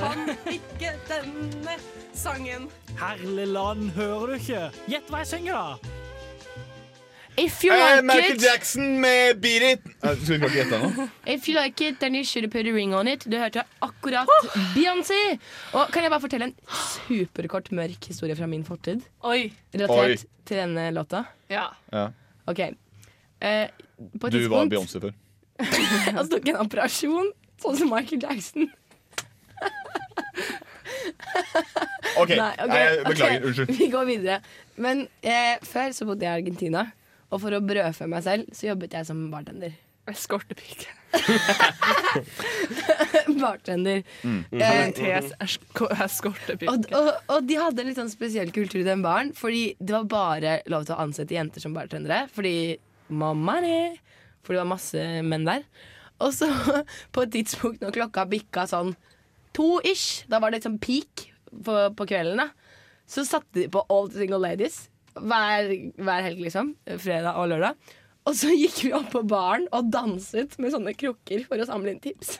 Kan
ikke denne sangen.
Herlig land, hører du ikke? Gjett hva jeg synger, da!
If you
Eh,
like
Michael
it
Jackson med 'Beat It'. Eh, Skal vi bare gjette nå?
If you like it, then you should put a ring on it. Du hørte akkurat Beyoncé. Og kan jeg bare fortelle en superkort mørk historie fra min fortid?
Oi.
Relatert
Oi.
til denne låta?
Ja.
Ja.
OK. Eh, på et
Du var
tidspunkt
Beyoncé før.
altså, tok jeg en operasjon, sånn som Michael Jackson.
OK.
Nei, ok,
Nei,
ok.
beklager. Unnskyld.
Vi går videre. Men eh, før så bodde jeg i Argentina, og for å brødfø meg selv så jobbet jeg som bartender. [laughs]
Eskortepike.
bartender. Eh,
Mm.
Parentes esk- eskortepike.
Og, og, og de hadde en litt sånn spesiell kultur i den baren, fordi det var bare lov til å ansette jenter som bartendere. Fordi mamma ne, For det var masse menn der. Og så [laughs] på et tidspunkt når klokka bikka sånn to ish, da var det liksom peak på, på kvelden, da, så satte de på All Single Ladies hver, hver helg, liksom. Fredag og lørdag. Og så gikk vi opp på baren og danset med sånne krukker for å samle inn tips.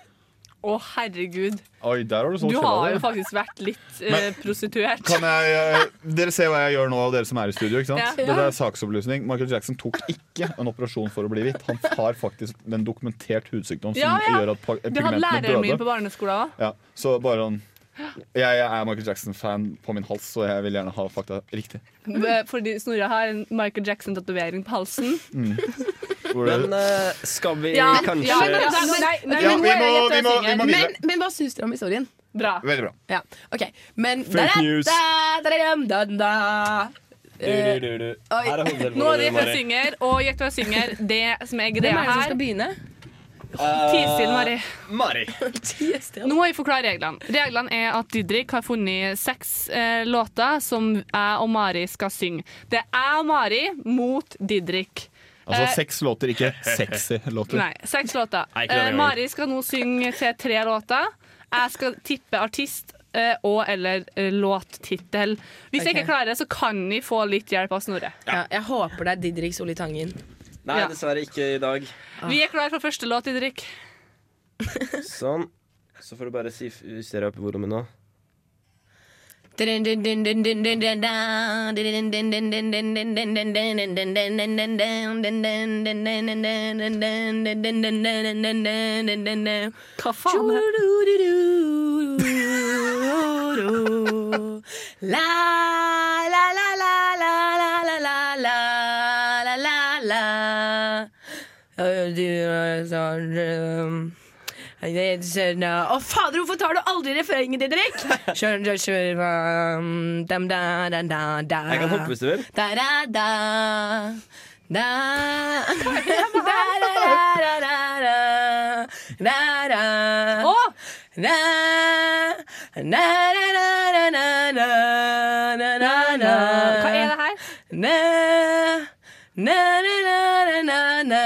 Å, herregud.
Oi, der har du solgt
Du
sjela
har
di.
jo faktisk vært litt eh,
Men-
prostituert.
Kan jeg, eh, dere ser hva jeg gjør nå, og dere som er i studio. ikke sant?
Ja.
Dette er saksopplysning. Michael Jackson tok ikke en operasjon for å bli hvitt. Han har faktisk en dokumentert hudsykdom som
Ja, ja.
gjør at pa-
Det hadde
pigmentene
læreren min på
døde.
barneskolen òg.
Ja, så bare han jeg, jeg er Michael Jackson-fan på min hals, så jeg vil gjerne ha fakta riktig.
Eh, Fordi Snorre har en Michael Jackson-tatovering på halsen.
Mm. Hvor det-
Men eh, skal vi
Ja,
kanskje
ja, men- ja, men- nei, nei,
Ja,
men-
vi må, vi må, vi må
Men,
videre.
men hva syns dere om historien?
Bra.
Veldig bra.
Ja, ok Men
Fake news.
Da, da, da, da, da.
Nå
Eh,
er det jeg som synger, og Gjett hva jeg synger. Det som er
Hvem
greia
er det som
her
skal begynne?
Tidstil, Mari.
[laughs]
Mari.
Nå må jeg forklare reglene. Reglene er at Didrik har funnet seks eh, låter som jeg og Mari skal synge. Det er jeg og Mari mot Didrik.
Altså
Eh,
seks låter, ikke
[laughs]
sexy låter.
Nei, seks låter.
Nei, ikke denne
Eh,
gangen.
Mari skal nå synge til tre låter. Jeg skal tippe artist eh, og eller eh, låttittel. Hvis jeg
Ok.
ikke klarer det, så kan jeg få litt hjelp av Snorre.
Ja, jeg håper det er Didrik Solli Tangen.
Nei,
Ja.
dessverre ikke i dag.
Vi er klare for første låt, Didrik.
Sånn. Så får du bare si, justere opp volumet nå.
Hva
faen
er La la la la la la la la la la la la eh, um, Å, fader, hvorfor tar du aldri refrenget, Didrik? Jeg um,
Jeg
kan
kan hoppe hvis du vil.
Da, da, da. Da. Da, da, da, da, da. Da, da. Da. Da, da, da, da, da, da, da, da, da.
Hva er det her?
Na, na, na, na, na, na.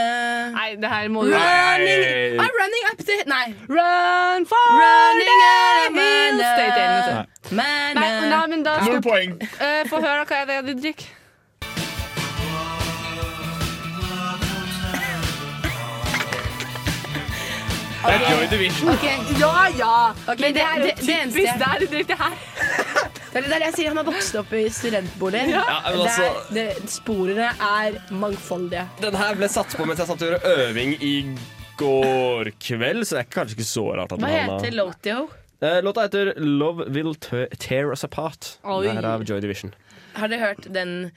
Nei, det her må du
Running, I'm running up the Nei. Run for running the hills.
Stay tuned, vet du.
Nei. Nei,
Nei, nei, men da
Null
poeng.
Eh, Få høre hva er det de drikker.
Det er Joy Division.
Ja, ja.
men det, det, det eneste
typisk der de drikker her.
Det er det der jeg sier han har vokst opp i studentboliger.
Ja, men altså-
Der det, sporene er mangfoldige.
Den her ble satt på mens jeg satt og gjorde øving i går kveld, så det er kanskje ikke så rart at den
Hva
havna-
heter Lotio?
Eh, Låta heter 'Love Will Te- Tear Us Apart'.
Oi.
Det her er av Joy Division.
Har dere hørt den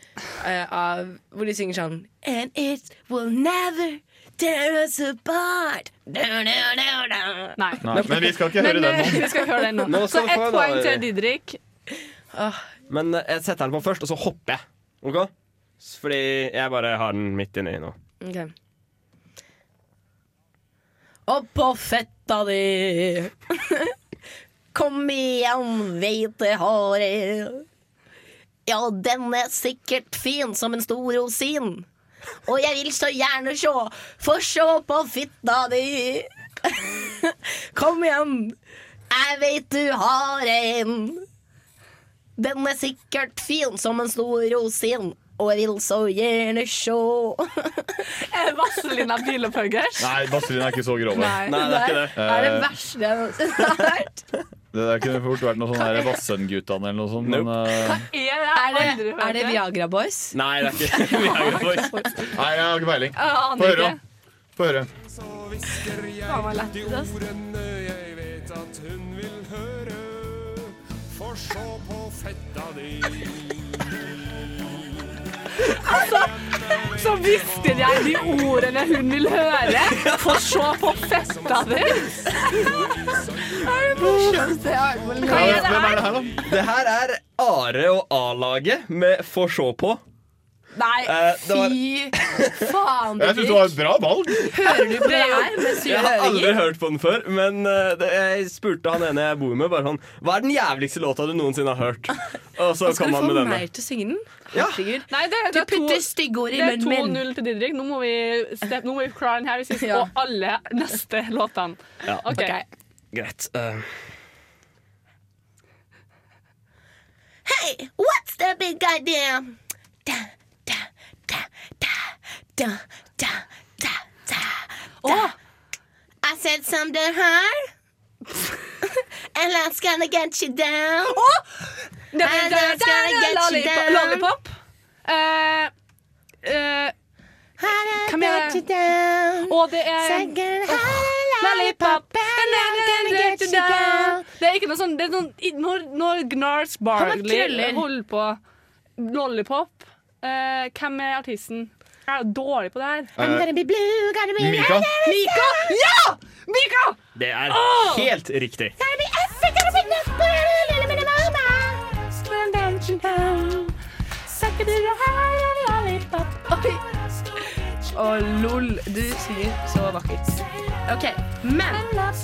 eh, av hvor de synger sånn And it will never tear us apart. Du, du, du, du.
Nei.
Nei, men vi skal ikke høre den nå.
eh, Vi skal ikke høre den nå.
Nå
Så
skal du
ett
få en,
poeng
da,
til
Mari.
Didrik.
Men eh, jeg setter den på først, og så hopper jeg. Ok? S- Fordi jeg bare har den midt inni nå.
Ok. Opp på fetta di. [laughs] Kom igjen, hvite hare. Ja, den er sikkert fin som en stor rosin. Og jeg vil så gjerne sjå, få sjå på fitta di. [laughs] Kom igjen. Jeg veit du har en. Den er sikkert fin som en stor rosin. Og jeg vil så gjerne sjå.
Er det Vazelina Bielepuggers?
Nei, Vazelina er ikke så grove.
Nei.
Nei, det er ikke det.
er det verste jeg [laughs] noensinne har hørt.
Det der kunne fort vært noe sånn her Vassendgutane eller noe sånt. Men, eh,
[laughs] Er det, er det Viagra Boys?
Nei, det er ikke Viagra Boys.
Nei, jeg har ikke peiling.
Jeg aner
Få høre.
ikke.
Få høre.
Faen, hva lett det er.
Få se på fetta di.
Altså, så hvisker jeg de ordene hun vil høre. Få se på fetta di.
er det morsomste jeg har hørt.
Hva er
her,
det her?
da? Det her er Are og A-laget med Få sjå på.
Nei,
Eh, det var-
fy
Jeg synes
faen,
det
Didrik.
var et bra valg. [laughs]
Hører du på det her? mens du
Jeg har
hører?
aldri hørt på den før, men eh, det, jeg spurte han ene jeg bor med, bare sånn Hva er den jævligste låta du noensinne har
[laughs]
hørt? Og så
Og Skal
kom
du
han
få
med denne.
meg til å synge den? Herregud.
Nei, det, det
Du
er to-
putter styggeord i
Det er
munnen min.
2-0 til Didrik. Nå må vi, step, nå må vi klare den her hvis vi skal
Ja.
få alle neste låtene.
Ja.
Ok.
Greit. eh,
Hey, what's the big idea? Da, da, da, da, da, da, da, da. I said something hard. [laughs] And that's gonna get you down.
Det er-
And
det er-
that's
det
gonna
er
get you
Lollipop.
down.
Lollipop. Eh, eh, Hvem er det? Og det
Oh.
er Lollipop. And I'm gonna get you down. Det er ikke noe sånn det er noen, i- Når, når Gnars Barley
krøller.
holder på Lollipop eh, Hvem er artisten? Jeg er dårlig på det her.
I'm gonna
be blue, gonna
be- Mika.
Mika! Ja! Mika!
Det er
Åh!
helt riktig.
Å, lol. Du synger så vakkert. Ok, Men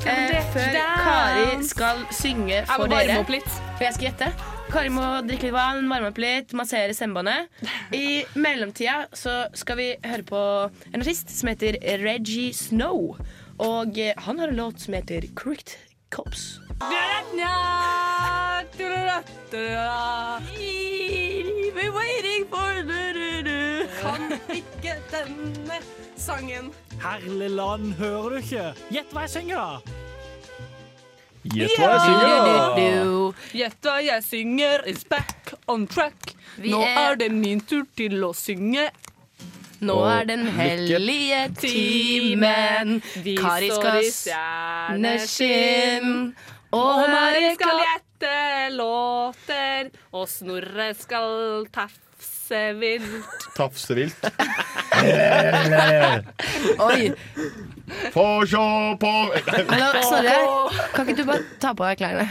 eh, før Kari skal synge
Jeg
for
må varme
dere
opp litt.
For jeg skal gjette. Kari må drikke litt vann, varme opp litt, massere stemmebåndet. I mellomtida så skal vi høre på en artist som heter Reggie Snow. Og eh, han har en låt som heter Crooked Cops.
Kan
ikke denne sangen.
Herligland, hører du ikke? Gjett hva jeg synger, da!
Gjett hva jeg synger, da!
Gjett hva jeg synger is back on track.
Vi
Nå
er-
er det min tur til å synge.
Nå er den hellige timen.
Vi
Kari
står
skal
i
stjerneskinn.
Og
Og
Mari
Mari
skal
skal
gjette låter, og Snorre skal tafse vilt.
Tafsevilt.
Oi.
Få sjå på
Hallo, Snorre. Kan ikke du bare ta på deg klærne?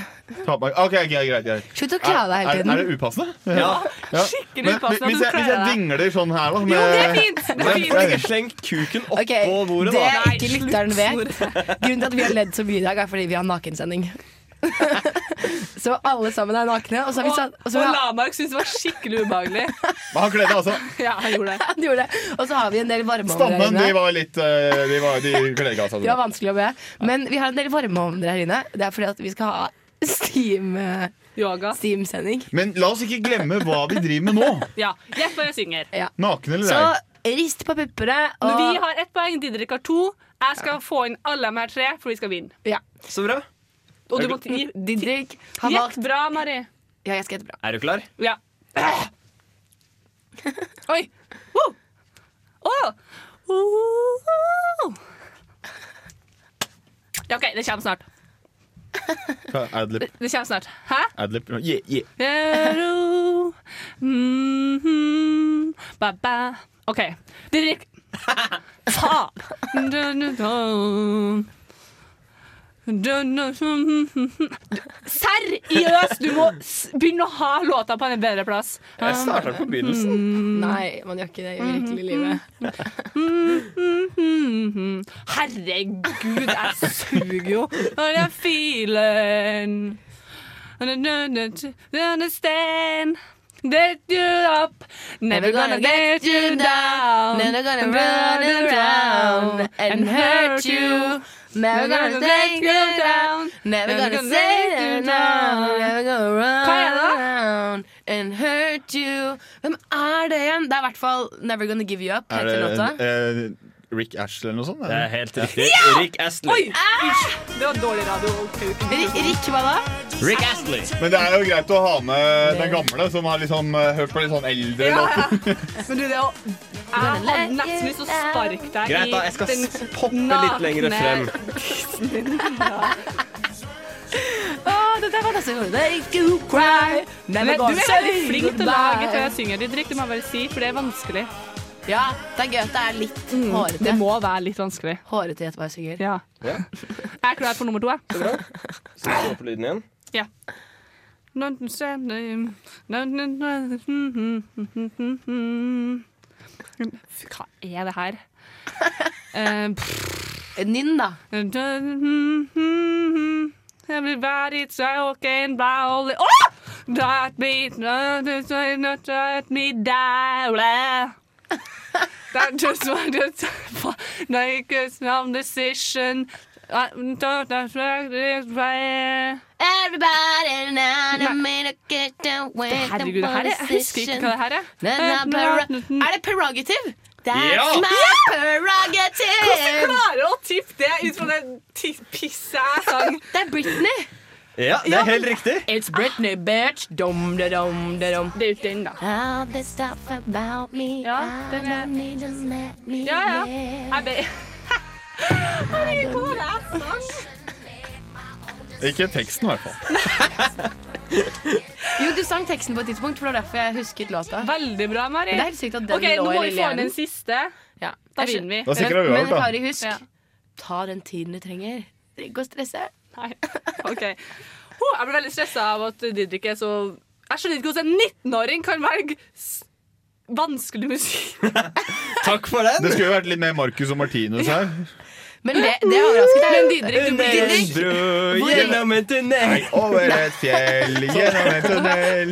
Ta på- OK, greit. greit, greit.
Slutt å kle av deg
Er-
hele
er-
tiden.
Er det upassende?
Ja,
skikkelig
upassende at
Hvis
du
jeg, hvis
kler
jeg
av deg.
dingler sånn her, da
Jo, det er fint, det er
Men-
fint.
men- Sleng kuken opp
Ok,
på bordet,
Det
da.
ikke lytteren vet. Grunnen til at vi har ledd så mye i dag, er fordi vi har nakensending. [laughs] så alle sammen er nakne. Og så har vi satt, og så
og
har,
Lamark syntes det var skikkelig ubehagelig.
Men han kledde altså.
[laughs] Ja, han gjorde
[laughs]
det.
Han gjorde det. Og så har vi en del varmeovner her
Stammen, de
inne.
var litt eh, De, var, de kledde altså.
Det var vanskelig å be. Men vi har en del varmeovner her inne. Det er fordi at vi skal ha eh, steam-sending. Steam sending.
Men la oss ikke glemme hva vi driver med nå.
Ja, Gjett hva jeg synger.
Naken eller
Så
ei.
rist på puppene.
Men Vi har ett poeng, Didrik har to. Jeg skal få inn alle de her tre, for vi skal vinne.
Så bra.
Og du må gi
Didrik har
Gjett bra, Mari.
Ja, jeg skal gjette bra.
Er du klar?
Ja. [laughs] Oi. Woo. Åh. Woo. Ja, OK, det kommer snart.
Adlib.
Det kommer snart. Hæ?
Adlib. Yeah, yeah.
Ero. Mhm. Ba-ba. OK. Didrik. Faen! Dun-dun-dun. Dun-dun-dun. Seriøst, du må s- begynne å ha låta på en bedre plass.
Jeg starter på begynnelsen.
Nei, man gjør ikke det i virkelig livet.
Mhm. Herregud, jeg suger jo. Og den filen Understand that you're up. Never gonna get you down.
Never gonna run around and hurt you. Never gonna take you down. Never gonna say you down. Never gonna run
Hva er det da?
around and hurt you. Hvem er det igjen? Det er i hvert fall Never Gonna Give You Up.
Er
Heter
det
låta.
eh, Rick Ashley eller noe sånt?
Det er helt riktig. Rick Astley.
Oi! Æsj! Det var dårlig radio.
Rick, hva da?
Rick Astley.
Men det er jo greit å ha med den gamle, som har liksom eh, hørt på litt sånn eldre
Ja,
låter.
Men du, det å Jeg hadde nesten lyst til å sparke deg
Greit da, jeg skal
poppe
litt lenger frem.
Åh, det der var det som gjorde det. Ikke you cry. Never
Men du
gonna
er
say
veldig flink til å lage til jeg
goodbye.
synger, Didrik. Det må jeg bare si, for det er vanskelig.
Ja, det er gøy at det er litt
Mm,
hårete.
Det må være litt vanskelig.
Hårete gjett hva jeg synger.
Ja.
Ja.
Jeg er klar for nummer to, jeg.
Så vi slår på lyden igjen.
Ja. Hva er det [laughs] her? Eh,
Nynn, da.
Everybody's talking about it. Åh! Let me, not let me down. That just want to [laughs] make a some decision. I don't know.
Everybody now, now made a get down with the
Herregud, det her er, jeg husker ikke hva det her er.
Na, na, para- Er det prerogative? That's
Ja!
my
Ja!
prerogative!
Hvordan klarer du å tippe det ut fra det ti- pisset jeg sang?
Det er Britney.
Ja, det er helt riktig.
It's Britney, bitch. Dom, da, dom, da, dom.
Det er jo den, da.
All this stuff about me.
Ja, den er Ja, ja. Jeg ber
[laughs] Ikke teksten, i hvert fall.
Jo, du sang teksten på et tidspunkt, for det var derfor jeg husket låta.
Veldig bra, Mari.
Men det er helt sykt at den
OK, nå
lå i
må vi
lille
få inn
hjernen.
en siste.
Ja.
Da vinner vi.
Da sikrer vi
men,
alt, da.
men Kari, husk, ta den tiden du trenger. Trenger ikke å stresse.
Nei. [laughs] OK. Ho, jeg blir veldig stressa av at Didrik er så Jeg skjønner ikke hvordan en 19-åring kan velge s- vanskelig musikk.
Takk for den.
[laughs] Det skulle jo vært litt mer Marcus og Martinus her.
Men det, det overrasket deg.
Men Didrik, du blir-
Didrik,
bru
Hvor-
gjennom en tunnel.
Over et
[laughs]
fjell, gjennom en tunnel.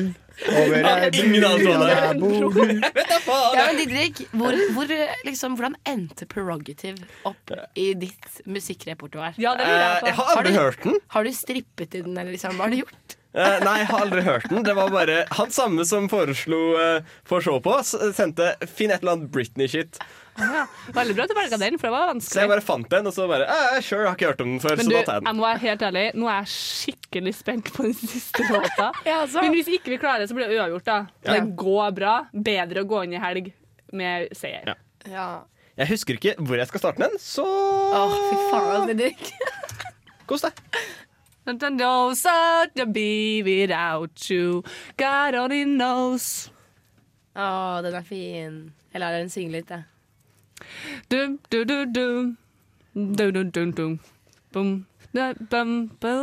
Over ei bru,
Ingen anelse om det.
der jeg bor.
Ja, men Didrik, hvor, hvor, eh, liksom, hvordan endte Prerogative opp i ditt musikkrepertoar?
Eh, jeg har aldri
du,
hørt den.
Har du strippet i den, eller liksom, hva har du gjort? [laughs]
Eh, nei, jeg har aldri hørt den. Det var bare han samme som foreslo eh, for å se på, s- sendte 'finn et eller annet Britney-shit'.
Ja, veldig bra at du velga den, for det
Så
var
jeg
vanskelig.
bare fant den, og så bare eh, 'Sure, jeg har ikke hørt om den før',
Men
så
du,
da tar jeg
jeg
den.
må være helt ærlig, nå er jeg skikkelig spent på den siste låta. Men hvis ikke vi klarer det, så blir det uavgjort, da.
Ja.
Det går bra. Bedre å gå inn i helg med seier.
Ja. Jeg husker ikke hvor jeg skal starte den, så
fy faen, Didrik.
Kos deg.
Don't I know such a be without you. God only knows.
Å, den er fin. Jeg lar den synge litt, jeg.
Dum, du, du, dum. Dum, dum, dum, dum. Bum. Da, bum, bu-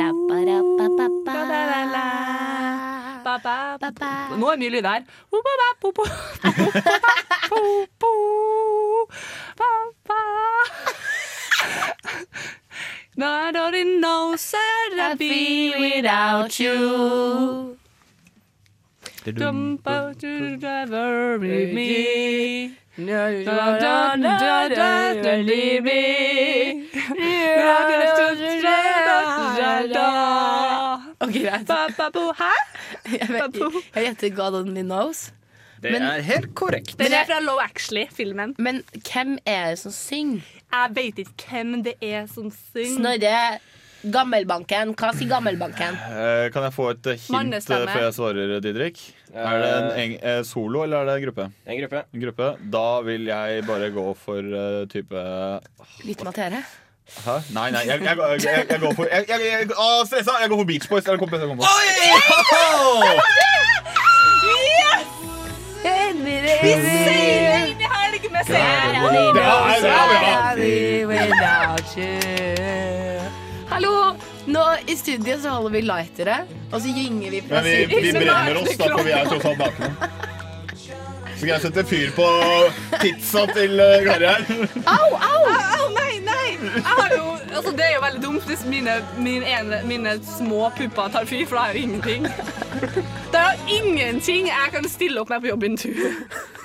Ba, ba, ba, ba. Nå er det mye lyd her. Bo, bo, ba, bo, bo. Bo, bo, ba, bo, bo. Ba, ba. Not only knows that I'd be without you. Jump out to driver with me. Da, da, da, da, da, leave me. Da, da, da, da, da, da.
Ok, greit. [laughs]
Hæ?
Jeg vet- jeg gjetter God Only Knows.
Det er helt korrekt.
Den er fra Low Actually-filmen.
Men hvem er det som synger?
Jeg veit ikke hvem det er som synger.
Snorre, gammelbanken. Hva sier gammelbanken?
Eh, Kan jeg få et eh, hint eh,
Mannestemme.
før jeg svarer, Didrik? Er det en eng eh, solo, eller er det en gruppe?
En gruppe.
Da vil jeg bare gå for eh, type
Litt materie.
Hæ? Nei, nei, jeg, jeg, jeg, jeg, jeg går for jeg, jeg, jeg, å, Stressa! Jeg går for Beach Boys. Er det kompis jeg kommer på?
Vi
seiler inn i helg med seier.
Bra, bra,
Hallo! Nå i studiet så holder vi lightere, og så gynger vi fra
Men vi, vi brenner oss, da, for vi er tross alt nakne. Så kan jeg sette fyr på pizza til eh, Kari her.
Au, au! Au, nei, nei! Jeg har jo, altså det er jo veldig dumt hvis mine, min ene, mine små pupper tar fyr, for da har jeg jo ingenting. [laughs] Det er jo ingenting jeg kan stille opp med på jobbintervju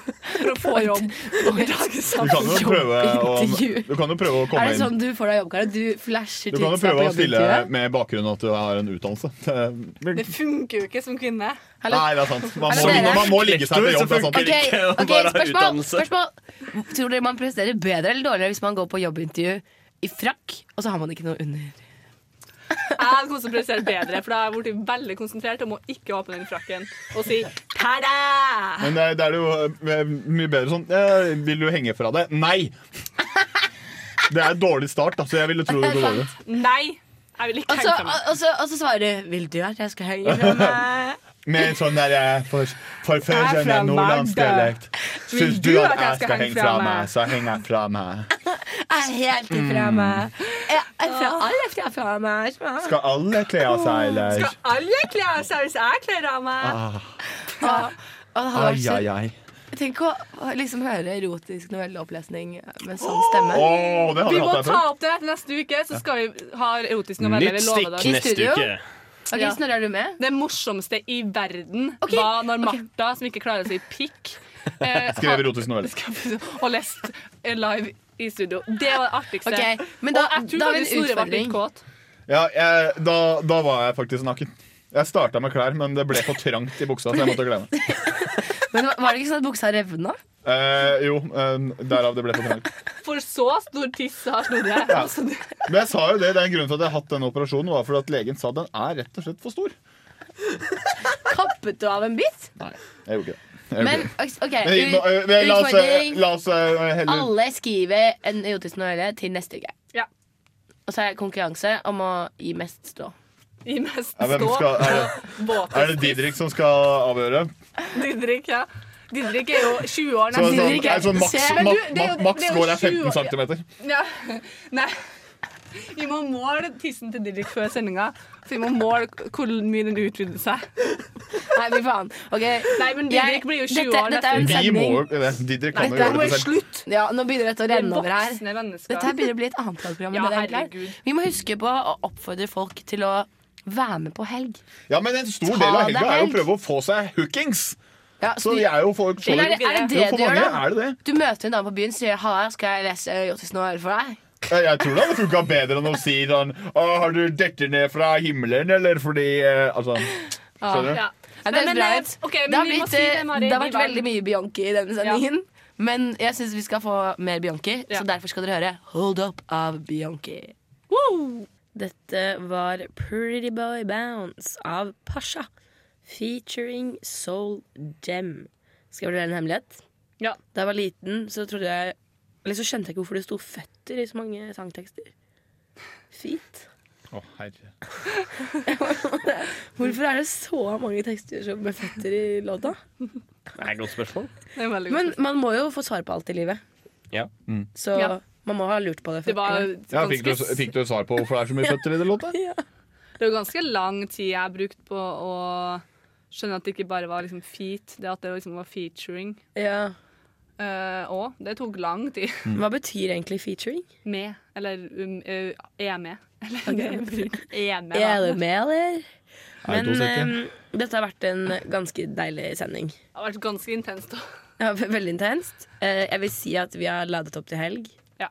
for å få jobb. i dagens
Du kan jo prøve å,
Jobbintervju.
du kan jo prøve å
sånn Er
komme
det
inn.
sånn du får deg jobb, Kari? Du flasher
Du kan jo
tidsa på
prøve å stille
jobbintervjuet?
med bakgrunn at du har en utdannelse. [laughs] Det-
Det funker jo ikke som kvinne.
Nei, det er sant. Man må,
Eller dere?
man må ligge seg til jobb. Det er sant.
Ok, ok, spørsmål, spørsmål. Tror dere man presterer bedre eller dårligere hvis man går på jobbintervju i frakk, og så har man ikke noe under?
Jeg hadde konsentrert bedre, for da har jeg blitt veldig konsentrert om å ikke åpne den frakken og si ta-da!
Men det, er- det er jo eh, mye bedre sånn eh, Vil du henge fra deg? Nei! [laughs] Det er et dårlig start, da, så jeg ville tro det går dårlig.
Nei, jeg vil ikke
Altså,
Og så,
henge sammen.
og, så, og så svarer du 'Vil du at jeg skal henge
[laughs]
fra meg?'
Med en sånn der eh, for,
Jeg er fra
forførende nordlandsk
Magda.
dialekt.
Vil
Syns du
du
at jeg skal henge fra meg, så henger jeg fra meg.
Jeg er helt ifra meg. Jeg er fra alle fra fra meg.
Skal alle kle av seg, eller?
Skal alle kle av seg hvis jeg kler av meg?
Ah,
Ja. Og det hadde
ai,
vært så
ai, ai.
Tenk å å liksom høre erotisk novelleopplesning med sånn stemme.
Åh, det hadde
Vi
jeg
må
hatt der
ta
før.
opp det neste uke, så skal vi ha erotisk novelle.
Nytt
vi lover det.
stikk I neste studio? uke.
Ok, Snorre, er du med?
Det morsomste i verden var når Martha, som ikke klarer å si
[laughs]
pikk, eh,
Skrev erotisk novelle.
og lest eh, live i studio. Det var det artigste.
Ok, men da-
og jeg tror
da har vi en
faktisk Snorre ble
utfordring.
litt kåt.
Ja, jeg, da, da var jeg faktisk naken. Jeg starta med klær, men det ble for trangt i buksa, så jeg måtte glemme.
Men var det ikke sånn at buksa revna?
Eh, jo, eh, derav det ble for trangt.
For så stor tiss har Snorre.
Ja.
Altså, det-
Men jeg sa jo det, det er en grunn til at jeg har hatt den operasjonen, var fordi at legen sa den er rett og slett for stor.
[laughs] Kappet du av en bit?
Nei, jeg gjorde ikke det. Jeg gjorde
Men
ikke det.
OK,
Men,
ut-
eh, men la oss, eh,
utfordring.
la oss eh, heller
Alle skriver en erotisk novelle til neste uke.
Ja.
Og så er det konkurranse om å gi mest stå.
I mest
Ja, hvem
stå
skal- er det-
og våtest.
Er det Didrik som skal avgjøre?
Didrik, ja. Didrik er jo 20 år.
Så det er sånn,
Didrik er-
er sånn maks,
Se, men du, det er jo-
maks, maks
det jo
går er
20 år,
15
ja.
cm.
Ja. Nei. Vi må måle tissen til Didrik før sendinga. Så vi må måle hvor mye den utvider seg.
Nei, fy faen. Ok,
Nei, men Didrik
jeg-
blir jo 20
dette,
år
Dette er en
Vi må
sending.
jo Didrik
Nei,
kan jo
dette
gjøre
må
det
jo
selv.
slutt! Ja, nå begynner dette å
Vi er
renne over her.
voksne mennesker.
Dette her begynner å bli et annet radioprogram. enn det
Ja,
det egentlig er.
herregud.
Vi må huske på å oppfordre folk til å være med på helg.
Ja, men en stor
Ta
del av
deg
helga er jo å
helg.
prøve å få seg hookings.
Ja,
Så vi er jo folk så
Eller er det er det, det
For
du gjør,
mange
da?
er det det.
Du møter en dame på byen og sier 'Halla, skal jeg lese eh, Jottisen og høre for deg?'
Jeg jeg tror det hadde funka bedre enn å si sånn «Å, Har du dette ned fra himmelen, eller fordi eh, Altså, skjønner du?
Ja. Ja, det,
Men,
høres
men,
bra
eh,
ut.
ok, men
det har,
vi må
blitt,
si
eh,
det, Mari,
det har
vi
vært
var-
veldig mye Bianchi i denne sendingen. Men jeg syns vi skal få mer Bianchi, så derfor skal dere høre Hold Up av Bianchi.
Dette var Pretty Boy Bounce av Pasha featuring Soul Gem. Skal jeg fortelle en hemmelighet? Da jeg var liten, så trodde jeg Eller så skjønte jeg ikke hvorfor det sto føtter i så mange sangtekster. Feet.
Å, herre.
[laughs] Hvorfor er det så mange tekster som med føtter i låta?
Det er et godt spørsmål.
Men man må jo få svar på alt i livet.
Ja.
Så
Ja.
man må ha lurt på det før.
Det var
Ja, fikk, du,
ganske,
fikk du svar på hvorfor det er så mye føtter i den låta?
det var ganske lang tid jeg brukte på å skjønne at det ikke bare var liksom feet, det at det liksom var featuring.
Ja.
og det tok lang tid.
Mm. Hva betyr egentlig featuring?
Med, eller um, eh, er med. Eller [laughs] er med. da.
Er du med, eller?
Nei,
Men
to sekunder.
ehm, dette har vært en ganske deilig sending.
Det har vært ganske intenst. [laughs] da.
Ja, ve- veldig intenst. Eh, jeg vil si at vi har ladet opp til helg.
Ja.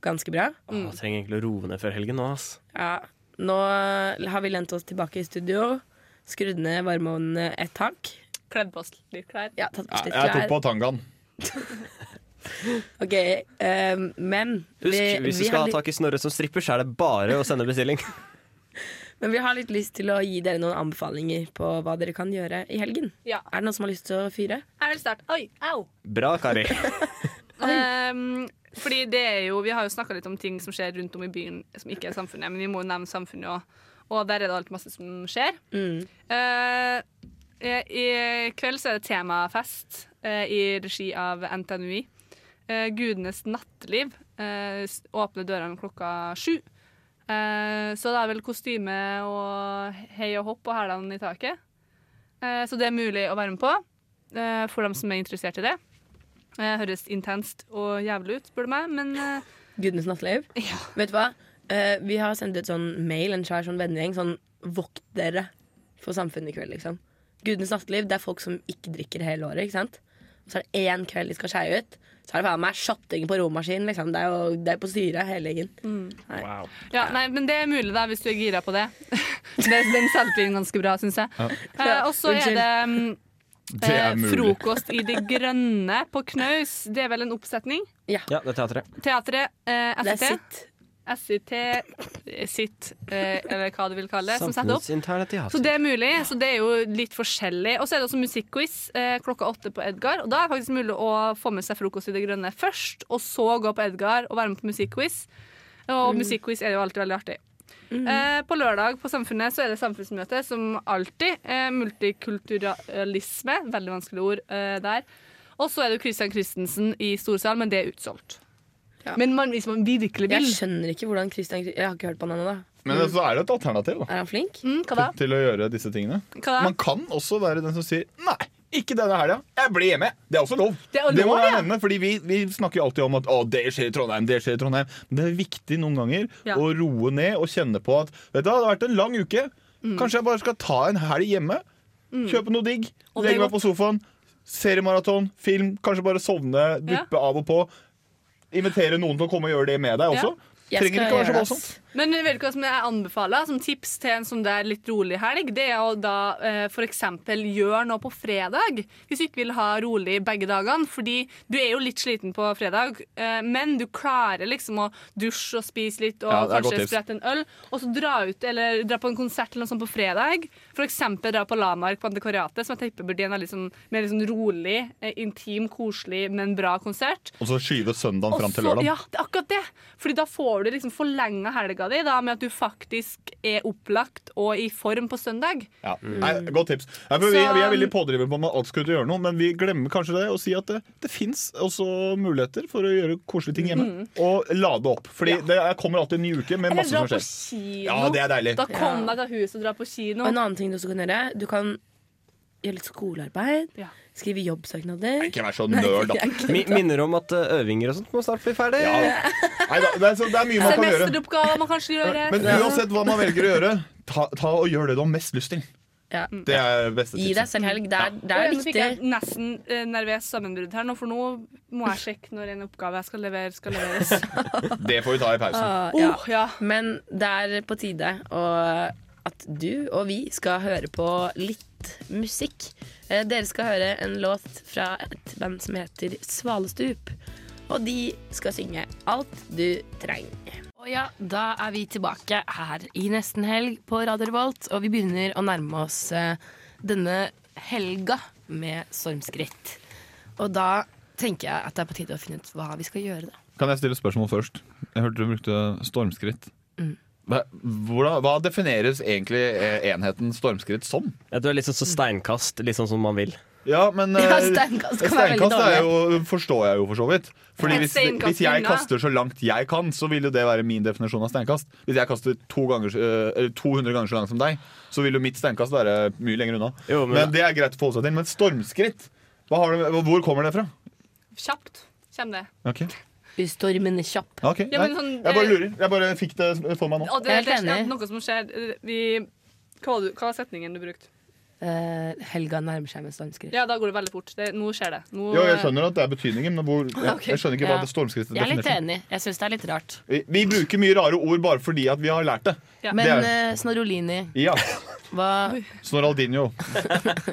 Ganske bra.
Åh, jeg trenger egentlig å roe ned før helgen nå, ass.
Ja. Nå eh, har vi lent oss tilbake i studio, skrudd ned varmeovnene et hakk.
Kledd på oss litt klær.
Ja, tatt på oss litt
Jeg tok på
klær.
tangaen.
Ok, ehm, men
Husk,
vi-
hvis
vi
du skal
har litt-
ha tak i Snorre som stripper, så er det bare å sende bestilling.
Men vi har litt lyst til å gi dere noen anbefalinger på hva dere kan gjøre i helgen.
Ja.
Er det noen som har lyst til å fyre?
Jeg vil starte. Oi, au!
Bra,
[laughs]
Kari.
Um, fordi det er jo, Vi har jo snakka litt om ting som skjer rundt om i byen som ikke er samfunnet, men vi må jo nevne samfunnet òg. Og der er det alltid masse som skjer. Eh, I kveld så er det temafest eh, i regi av NTNUI. Eh, Gudenes natteliv eh, s- åpner dørene klokka sju. Eh, så det er vel kostyme og hei og hopp og hælene i taket. Eh, så det er mulig å være med på eh, for dem som er interessert i det. Eh, høres intenst og jævlig ut, spør du meg, men eh,
Gudenes natteliv? Vet du hva? Eh, vi har sendt ut sånn mail, en svær sånn vennegjeng, sånn vokt dere for samfunnet i kveld, liksom. Gudenes natteliv, det er folk som ikke drikker hele året, ikke sant? Og så er det én kveld de skal skeie ut. Så er det faen meg shotting på romaskin, liksom. Det er jo det er på styret hele gjengen.
Mm.
Nei.
Ja, nei, men det er mulig da, hvis du er gira på det. [laughs] det den solgte inn ganske bra, syns jeg.
Ja.
Eh, og så er
Unnskyld.
det mm,
Det er
eh,
mulig.
frokost i Det grønne på Knaus. Det er vel en oppsetning?
Ja, det er teatret.
Teatret eh,
Det er
SIT. SIT, eh, SIT, eh, eller hva du vil kalle det, som setter opp.
Samfunnsinterne
Så
teater.
det er mulig. Så det er jo litt forskjellig. Og så er det også musikkquiz eh, klokka åtte på Edgar. Og da er det faktisk mulig å få med seg frokost i det grønne først, og så gå på Edgar og være med på musikkquiz. Og
Mm.
musikkquiz er jo alltid veldig artig. Eh, på lørdag på Samfunnet så er det samfunnsmøte, som alltid. Eh, multikulturalisme, veldig vanskelig ord eh, der. Og så er det jo Christian Christensen i storsal, men det er utsolgt. Men man, hvis man virkelig vil
Jeg skjønner ikke hvordan Christian Jeg har ikke hørt på han ennå, da.
Men så er det et alternativ da,
Er han flink?
Mm, hva da?
til å gjøre disse tingene.
Hva da?
Man kan også være den som sier nei. Ikke denne helga. Jeg blir hjemme. Det er også lov.
Det er lov,
må jeg
ja.
nevne, fordi vi, vi snakker jo alltid om at å, det skjer i Trondheim, det skjer i Trondheim. Men det er viktig noen ganger
Ja.
å roe ned og kjenne på at vet du, hva, det har vært en lang uke. Kanskje jeg bare skal ta en helg hjemme.
Mm.
Kjøpe noe digg.
Og det er
Legge meg på sofaen. Seriemaraton, film. Kanskje bare sovne, duppe av og på. Invitere noen til å komme og gjøre det med deg også.
Ja.
Trenger ikke være så voldsomt.
Men vet du hva som jeg anbefaler som tips til en som det er litt rolig helg? Det er å da eh, f.eks. gjøre noe på fredag, hvis du ikke vil ha rolig begge dagene. Fordi du er jo litt sliten på fredag, eh, men du klarer liksom å dusje og spise litt og
Ja, det er godt
kanskje
tips.
sprette en øl. Og så dra ut eller dra på en konsert eller noe sånt på fredag. F.eks. dra på Lamark på Antikvariatet, som jeg tipper blir en veldig sånn, mer liksom rolig, eh, intim, koselig, men bra konsert.
Og så skyve søndagen fram til
Og så-
lørdag.
Ja, det er akkurat det. Fordi da får du liksom forlenga helga di da, med at du faktisk er opplagt og i form på søndag.
Ja. Nei, godt tips. Nei, for vi, vi er veldig pådrivere på om alt skal ut og gjøre noe, men vi glemmer kanskje det å si at det, det fins også muligheter for å gjøre koselige ting hjemme. Og lade opp. Fordi det er- kommer alltid en ny uke med
Eller
masse
dra
som
på
skjer.
kino.
Ja, det er deilig.
Da kom deg til huset og dra på
Og
kino.
en annen ting du også kan gjøre, du kan gjøre litt skolearbeid, skrive jobbsøknader.
Ikke vær så nerd, da.
Mi- Minner om at eh, øvinger og sånt må snart bli ferdig.
Nei, da, det, er, så- det er mye man kan gjøre.
Semesteroppgaver man kanskje gjør.
Men uansett hva man velger å gjøre, ta, ta og gjør det du har mest lyst til.
Ja.
Det er beste
Gi deg
tipset.
selv helg. Det er, det
Oi,
er
Eh, nå fikk jeg
viktig.
nesten eh, nervøs sammenbrudd her nå, for nå må jeg sjekke når en oppgave jeg skal levere, skal
[laughs]
leveres.
Det får vi ta i
Ah,
pausen.
ja. Men det er på tide og at du og vi skal høre på litt musikk. Eh, Dere skal høre en låt fra et band som heter Svalestup. Og de skal synge 'Alt du trenger'. Og ja, da er vi tilbake her i nesten helg på Radio Revolt, og vi begynner å nærme oss eh, denne helga med stormskritt. Og da tenker jeg at det er på tide å finne ut hva vi skal gjøre, da.
Kan jeg stille et spørsmål først? Jeg hørte du brukte stormskritt.
Mm.
Hva, hvordan, hva defineres egentlig eh, enheten stormskritt som?
Ja, du er litt sånn som steinkast, litt sånn som man vil.
Ja, men eh,
[laughs] Ja, steinkast kan være veldig
steinkast er
dårlig.
jo, forstår jeg jo for så vidt. Fordi
Et
hvis,
steinkast
hvis jeg
unna.
kaster så langt jeg kan, så vil jo det være min definisjon av steinkast. Hvis jeg kaster to ganger, eh, eller 200 ganger så langt som deg, så vil jo mitt steinkast være mye lenger unna. men, det er greit å forholde seg til. Men stormskritt, hva har det, hvor kommer det fra?
Kjapt kommer det.
Ok.
Stormen er kjapp.
Ok,
Ja,
nei,
men sånn,
jeg bare
eh,
lurer. Jeg bare fikk det for meg nå.
Og det, det, er noe som skjer. eh, Vi, hva, var du, hva var setningen du brukte?
Eh, helga nærmer seg med stormskritt.
Ja, da går det veldig fort. Det, nå skjer det. Nå,
Jo, jeg skjønner at det er betydningen, men hvor, jeg,
Ok.
jeg skjønner ikke hva
Ja.
det stormskrittet
Jeg er litt
definerer. som.
enig. Jeg syns det er litt rart.
Vi, vi bruker mye rare ord bare fordi at vi har lært det.
Men
det er,
eh, Snorolini,
ja.
hva,
Snoraldinho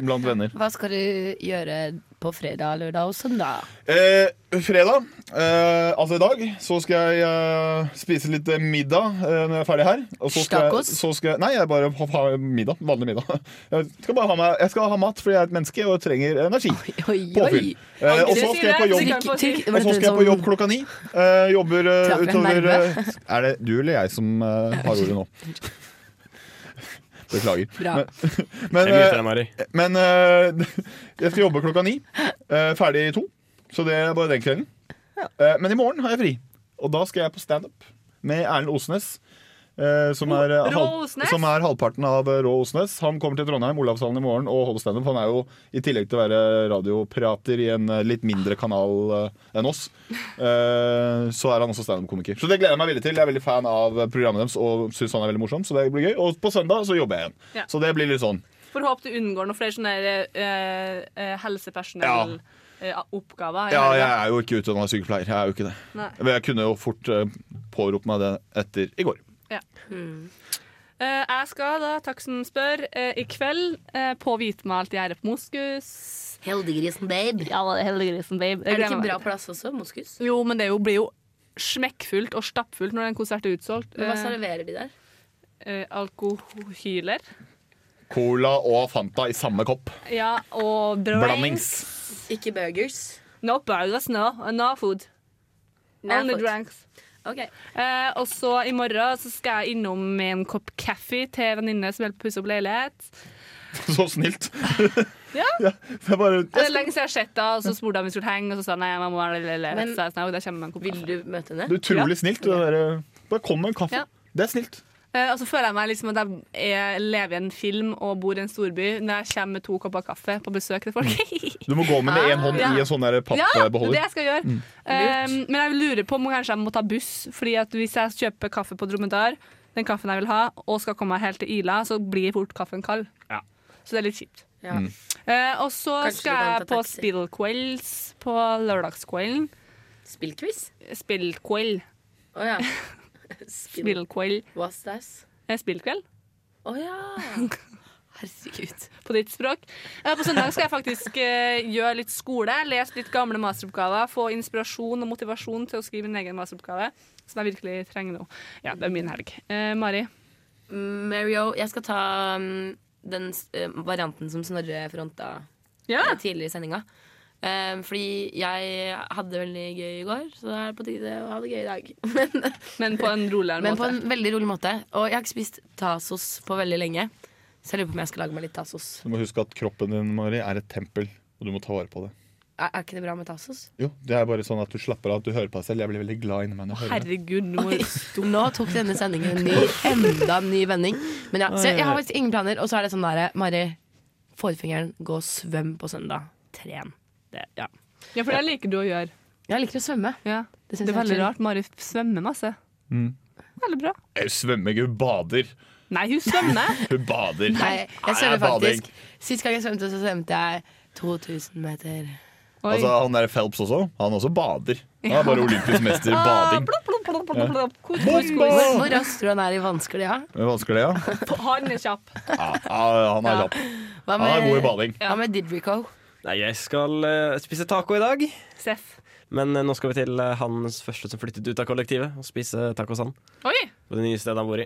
blant venner.
hva skal du gjøre på fredag, lørdag og [laughs] søndag?
Eh, fredag, eh, altså i dag, så skal jeg eh, spise litt eh, middag eh, når jeg er ferdig her. Og så skal jeg,
Tacos?
så skal jeg, nei, jeg bare ha, ha middag. Vanlig middag. [laughs] Jeg skal bare ha, meg, jeg skal ha mat fordi jeg er et menneske og trenger energi. Påfyll. Eh, og så skal jeg på jobb.
Trykk- trykk-
Og så skal jeg på jobb klokka ni. Eh, jobber eh,
Traff en
utover
nerve.
eh, Er det du eller jeg som eh, har ordet nå? Beklager.
Bra.
Men, men,
Jeg mye til
eh,
deg, Mari.
men eh, jeg skal jobbe klokka ni. eh, ferdig to. Så det er bare den kvelden. Eh, men i morgen har jeg fri. Og da skal jeg på standup med Erlend Osnes. eh, som, er, eh,
Rå
halv-
Osnes?
som er halvparten av eh, Rå Osnes. Han kommer til Trondheim Olavshallen i morgen og holder standup. Han er jo i tillegg til å være eh, radioprater i en eh, litt mindre kanal eh, enn oss, eh, så er han også standup-komiker. Så det gleder jeg meg veldig til. Jeg er veldig fan av eh, programmet deres og syns han er veldig morsom. Så det blir gøy. Og på søndag så jobber jeg igjen.
Ja.
Så det blir litt sånn.
Får håpe du unngår noen flere sånne der, eh, eh, helsepersonell eh, oppgaver i
Ja,
helga.
jeg er jo ikke utdanna sykepleier. Jeg er jo ikke det.
Nei.
Men jeg kunne jo fort eh, påropt meg det etter i går.
Ja. Eh, jeg skal da, takk som spør, eh, i kveld eh, på hvitmalt gjerde på moskus.
Heldiggrisen, babe.
Ja, heldiggrisen, babe.
Er det
Jeg
ikke
gleder
bra
meg.
plass også, moskus?
Jo, men det er jo, blir jo smekkfullt og stappfullt når en konsert er utsolgt.
Men hva
Eh,
serverer de der?
eh, alkohyler.
Cola og Fanta i samme kopp.
Ja, og
Blandings. [laughs]
drinks.
Ikke burgers.
No burgers, no. No food.
No
Only
food.
drinks. Eh, og så i morgen så skal jeg innom med en kopp kaffe til en venninne som hjelper å pusse opp leilighet.
Så snilt.
[laughs] Ja.
Det er bare
Det er lenge siden jeg har sett henne, og så spurte jeg om vi skulle henge, og så sa jeg nei, jeg må være leilighet.
Men-
så jeg sa, «Nei, da kommer jeg med en kopp
Vil du møte henne?
Det er utrolig snilt. Det der, eh, bare kom med en kaffe.
Ja.
Det er snilt.
Eh, Og så føler jeg meg liksom at jeg er- lever i en film og bor i en storby når jeg kommer med to kopper kaffe på besøk til folk. [laughs]
Du må gå med det i én hånd
Ah, Ja.
i en sånn der
Ja, det er det
pappbeholder.
jeg skal gjøre.
Mm.
Um, men jeg lurer på om kanskje jeg må ta buss, Fordi at hvis jeg kjøper kaffe på Dromedar, den kaffen jeg vil ha, og skal komme meg helt til Ila, så blir fort kaffen kald.
Ja.
Så det er litt kjipt.
Ja. Mm.
Eh, og så
Kanskje du
skal
kan
jeg
ta
på
taxi.
spillquiz på lørdagskvelden.
Spillquiz?
Spillqueld.
Å ja.
Spillqueld.
What's that?
Eh, Spillkveld.
Å ja. [laughs] Herregud.
på ditt språk. Eh, På søndag skal jeg faktisk eh, gjøre litt skole, lese litt gamle masteroppgaver, få inspirasjon og motivasjon til å skrive min egen masteroppgave, som jeg virkelig trenger nå. Ja, det er min helg. Eh, Mari?
Mario, jeg skal ta mm, den eh, varianten som Snorre fronta eh, tidligere i sendinga. Eh, fordi jeg hadde det veldig gøy i går, så da er det på tide å ha det gøy i dag. [laughs] Men,
på en roligere
Men på
måte.
en veldig rolig måte. Og jeg har ikke spist tasos på veldig lenge, så jeg lurer på om jeg skal lage meg litt tasos.
Du må huske at kroppen din Mari, er et tempel, og du må ta vare på det.
Er, er ikke det bra med tasos?
Jo, Det er bare sånn at du slapper av, at du hører på deg selv. Jeg blir veldig glad inni meg når jeg hører det.
Herregud, nå
[laughs] Oi, nå tok denne sendingen en ny, enda en ny vending. Men ja, så jeg har faktisk ingen planer. Og så er det sånn derre Mari, Forfingeren, gå og svøm på søndag. Tren. Det, ja.
Ja, for det liker du å gjøre.
Jeg liker å svømme.
Det, er
synes jeg er
veldig
chill.
rart. Mari svømmer masse.
Mm.
Veldig bra.
Jeg svømmer ikke, hun bader.
Nei, hun svømmer! [laughs]
Hun bader.
Nei,
Nei,
jeg svømmer
bading.
faktisk. Sist gang jeg svømte, så svømte jeg 2000 meter.
Altså, han der Phelps også, han også bader. Han er bare
Ja.
olympisk mester i
Ah,
bading.
plopp, plopp, plopp, plopp, plopp.
Kos,
Hvor
kos, kos.
hvor raskt tror du han er i vansker, ja?
Men vanskelig, ja.
Han er kjapp.
ja. ja, Han er
Ja.
kjapp. Han er god i bading.
Hva med Didrico?
Nei, jeg skal eh, spise taco i dag.
Seff.
Men eh, nå skal vi til eh, hans første som flyttet ut av kollektivet, og spise tacos han.
Oi,
På det nye stedet han bor i.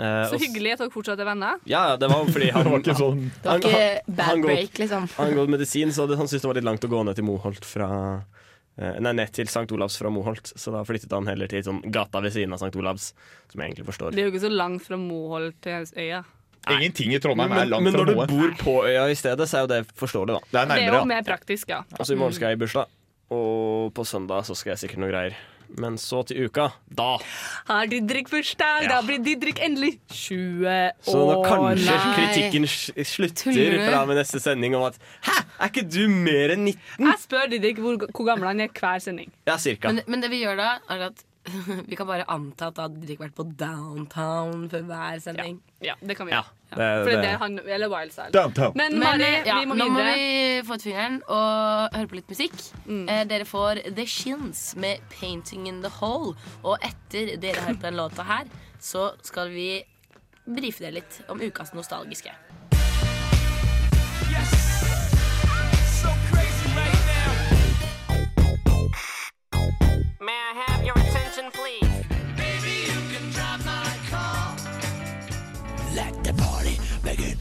Eh,
så
og s-
hyggelig at dere fortsatt er venner.
Ja, ja, det var
[laughs]
fordi han
Det var ikke sånn-
Det var ikke bad
han går-
break, liksom.
Han går medisin, så det, han syntes det var litt langt å gå ned til Moholt fra eh, Nei, ned til St. Olavs fra Moholt, så da flyttet han heller til sånn gata ved siden av St. Olavs, som jeg egentlig forstår.
Det er jo ikke så langt fra Moholt til øya.
Ingenting i Trondheim
men,
er langt
men
fra
når du
noe.
bor på øya i stedet, så er jo det forståelig, da.
Det er jo mer praktisk, ja.
Og så i morgen skal jeg i bursdag, og på søndag så skal jeg sikkert noe greier. Men så til uka. Da!
Har Didrik bursdag? Da blir Didrik endelig 20 år.
Så nå kanskje
Nei.
kritikken s- slutter
Tuller du?
fra med neste sending om at Hæ, er ikke du mer enn 19?
Jeg spør Didrik hvor, hvor gammel han er hver sending.
Ja, cirka.
Men, men det vi gjør da, er at [laughs] vi kan bare anta at da hadde de ikke vært på downtown for hver sending.
Ja, det kan vi
Ja,
gjøre.
det- det-
For det er det han, eller Wildstyle.
Downtown.
Men Mari,
eh, ja,
vi må
nå må
videre. Mm.
vi få ut fingeren og høre på litt musikk. Eh, dere får The Shins med 'Painting in the Hole'. Og etter dere har hørt på den låta her, så skal vi brife dere litt om ukas nostalgiske.
May I have your attention, please? Baby, you can drop my call. Let the party begin.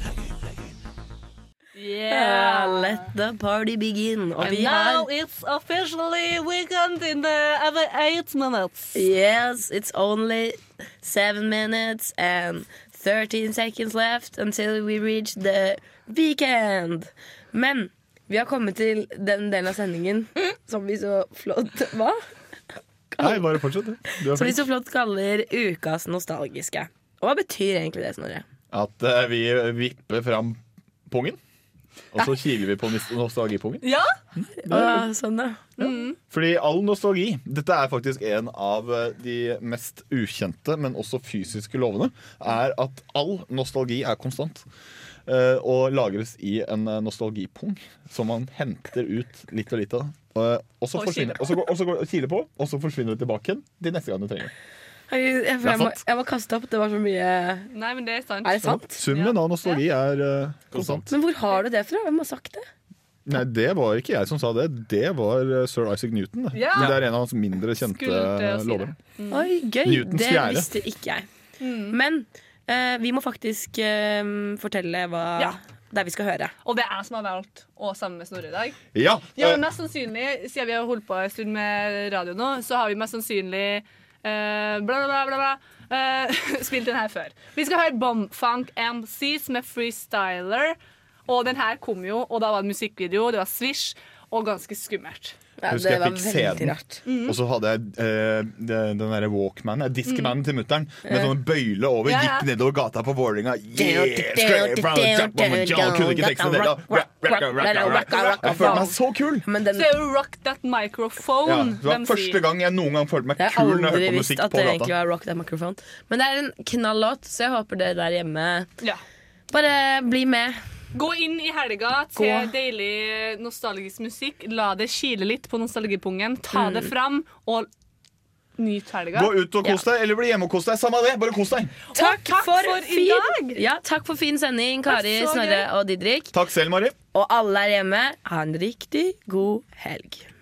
Yeah. let the party begin. Og
And
vi
now
har
it's officially weekend in the other eight minutes.
Yes, it's only seven minutes and 13 seconds left until we reach the weekend. Men vi har kommet til den delen av sendingen som vi så flott Hva?
Nei, bare fortsett. du. Du er
Som vi
flink.
så flott kaller ukas nostalgiske. Og hva betyr egentlig det, Snorre?
At eh, vi vipper fram pungen, og så kiler vi på nost- nostalgipungen.
Ja?
Ja.
sånn, ja. Mm.
Fordi all nostalgi Dette er faktisk en av eh, de mest ukjente, men også fysiske lovene. Er at all nostalgi er konstant. eh, Og lagres i en eh, nostalgipung som man henter ut litt og litt av. Eh, Og så
Og
forsvinner
kiler.
og så går, og så går, kiler på, og så forsvinner det tilbake igjen til neste gang du trenger det.
Herregud, jeg,
Det er
jeg, må,
sant.
jeg må kaste opp. Det var så mye
Nei, men det er sant.
Er det sant?
Summen av nostalgi er eh, konstant.
Men hvor har du det fra? Hvem har sagt det?
Nei, det var ikke jeg som sa det. Det var eh, sir Isaac Newton. det.
Ja.
Men Det er en av hans mindre kjente
Skulle
eh,
til å si
lover.
Oi, gøy.
Mm. Newtons
det
fjerde. Mm.
visste ikke jeg. Men eh, vi må faktisk eh, fortelle hva
Ja.
det er vi skal høre.
Og det er jeg som har valgt å sammen med Snorre i dag.
Ja,
Ja, men mest sannsynlig, Siden vi har holdt på en stund med radio nå, så har vi mest sannsynlig eh, bla, bla, bla, bla, bla eh, [laughs] spilt den her før. Vi skal høre Bombfunk MCs med Freestyler. Og den her kom jo, og da var det musikkvideo, det var swish, og ganske skummelt.
Jeg husker jeg fikk CD-en, og så hadde jeg eh, den den derre Walkmanen, eh, Discmanen til mutter'n, med
Ja.
sånne bøyle over,
Ja, ja.
gikk nedover gata på Vålerenga. Yeah,
Down,
straight
down,
from the top of my jaw. Kunne ikke teksten der, da. Rock, rock, rock, rock, rock. Jeg følte meg så kul!
Men
Så er jo Rock That Microphone.
Ja, det var
de
første
sier.
gang jeg noen gang følte meg
Jeg har
kul når jeg
aldri
hørte på
visst
musikk
at
på
det egentlig
gata.
var Rock That Microphone. Men det er en knallåt, så jeg håper dere der hjemme
Ja.
bare bli med.
Gå inn i helga til
Gå.
deilig nostalgisk musikk. La det kile litt på nostalgipungen. Ta det
Mm.
fram, og nyt helga.
Gå ut og kos deg, eller bli hjemme og kos deg. Samme det, bare kos deg.
Takk, for,
for i
fin,
dag.
Ja, takk for fin sending, Kari,
Det er så
Snorre
gøy.
og Didrik.
Takk selv, Mari.
Og alle der hjemme, ha en riktig god helg.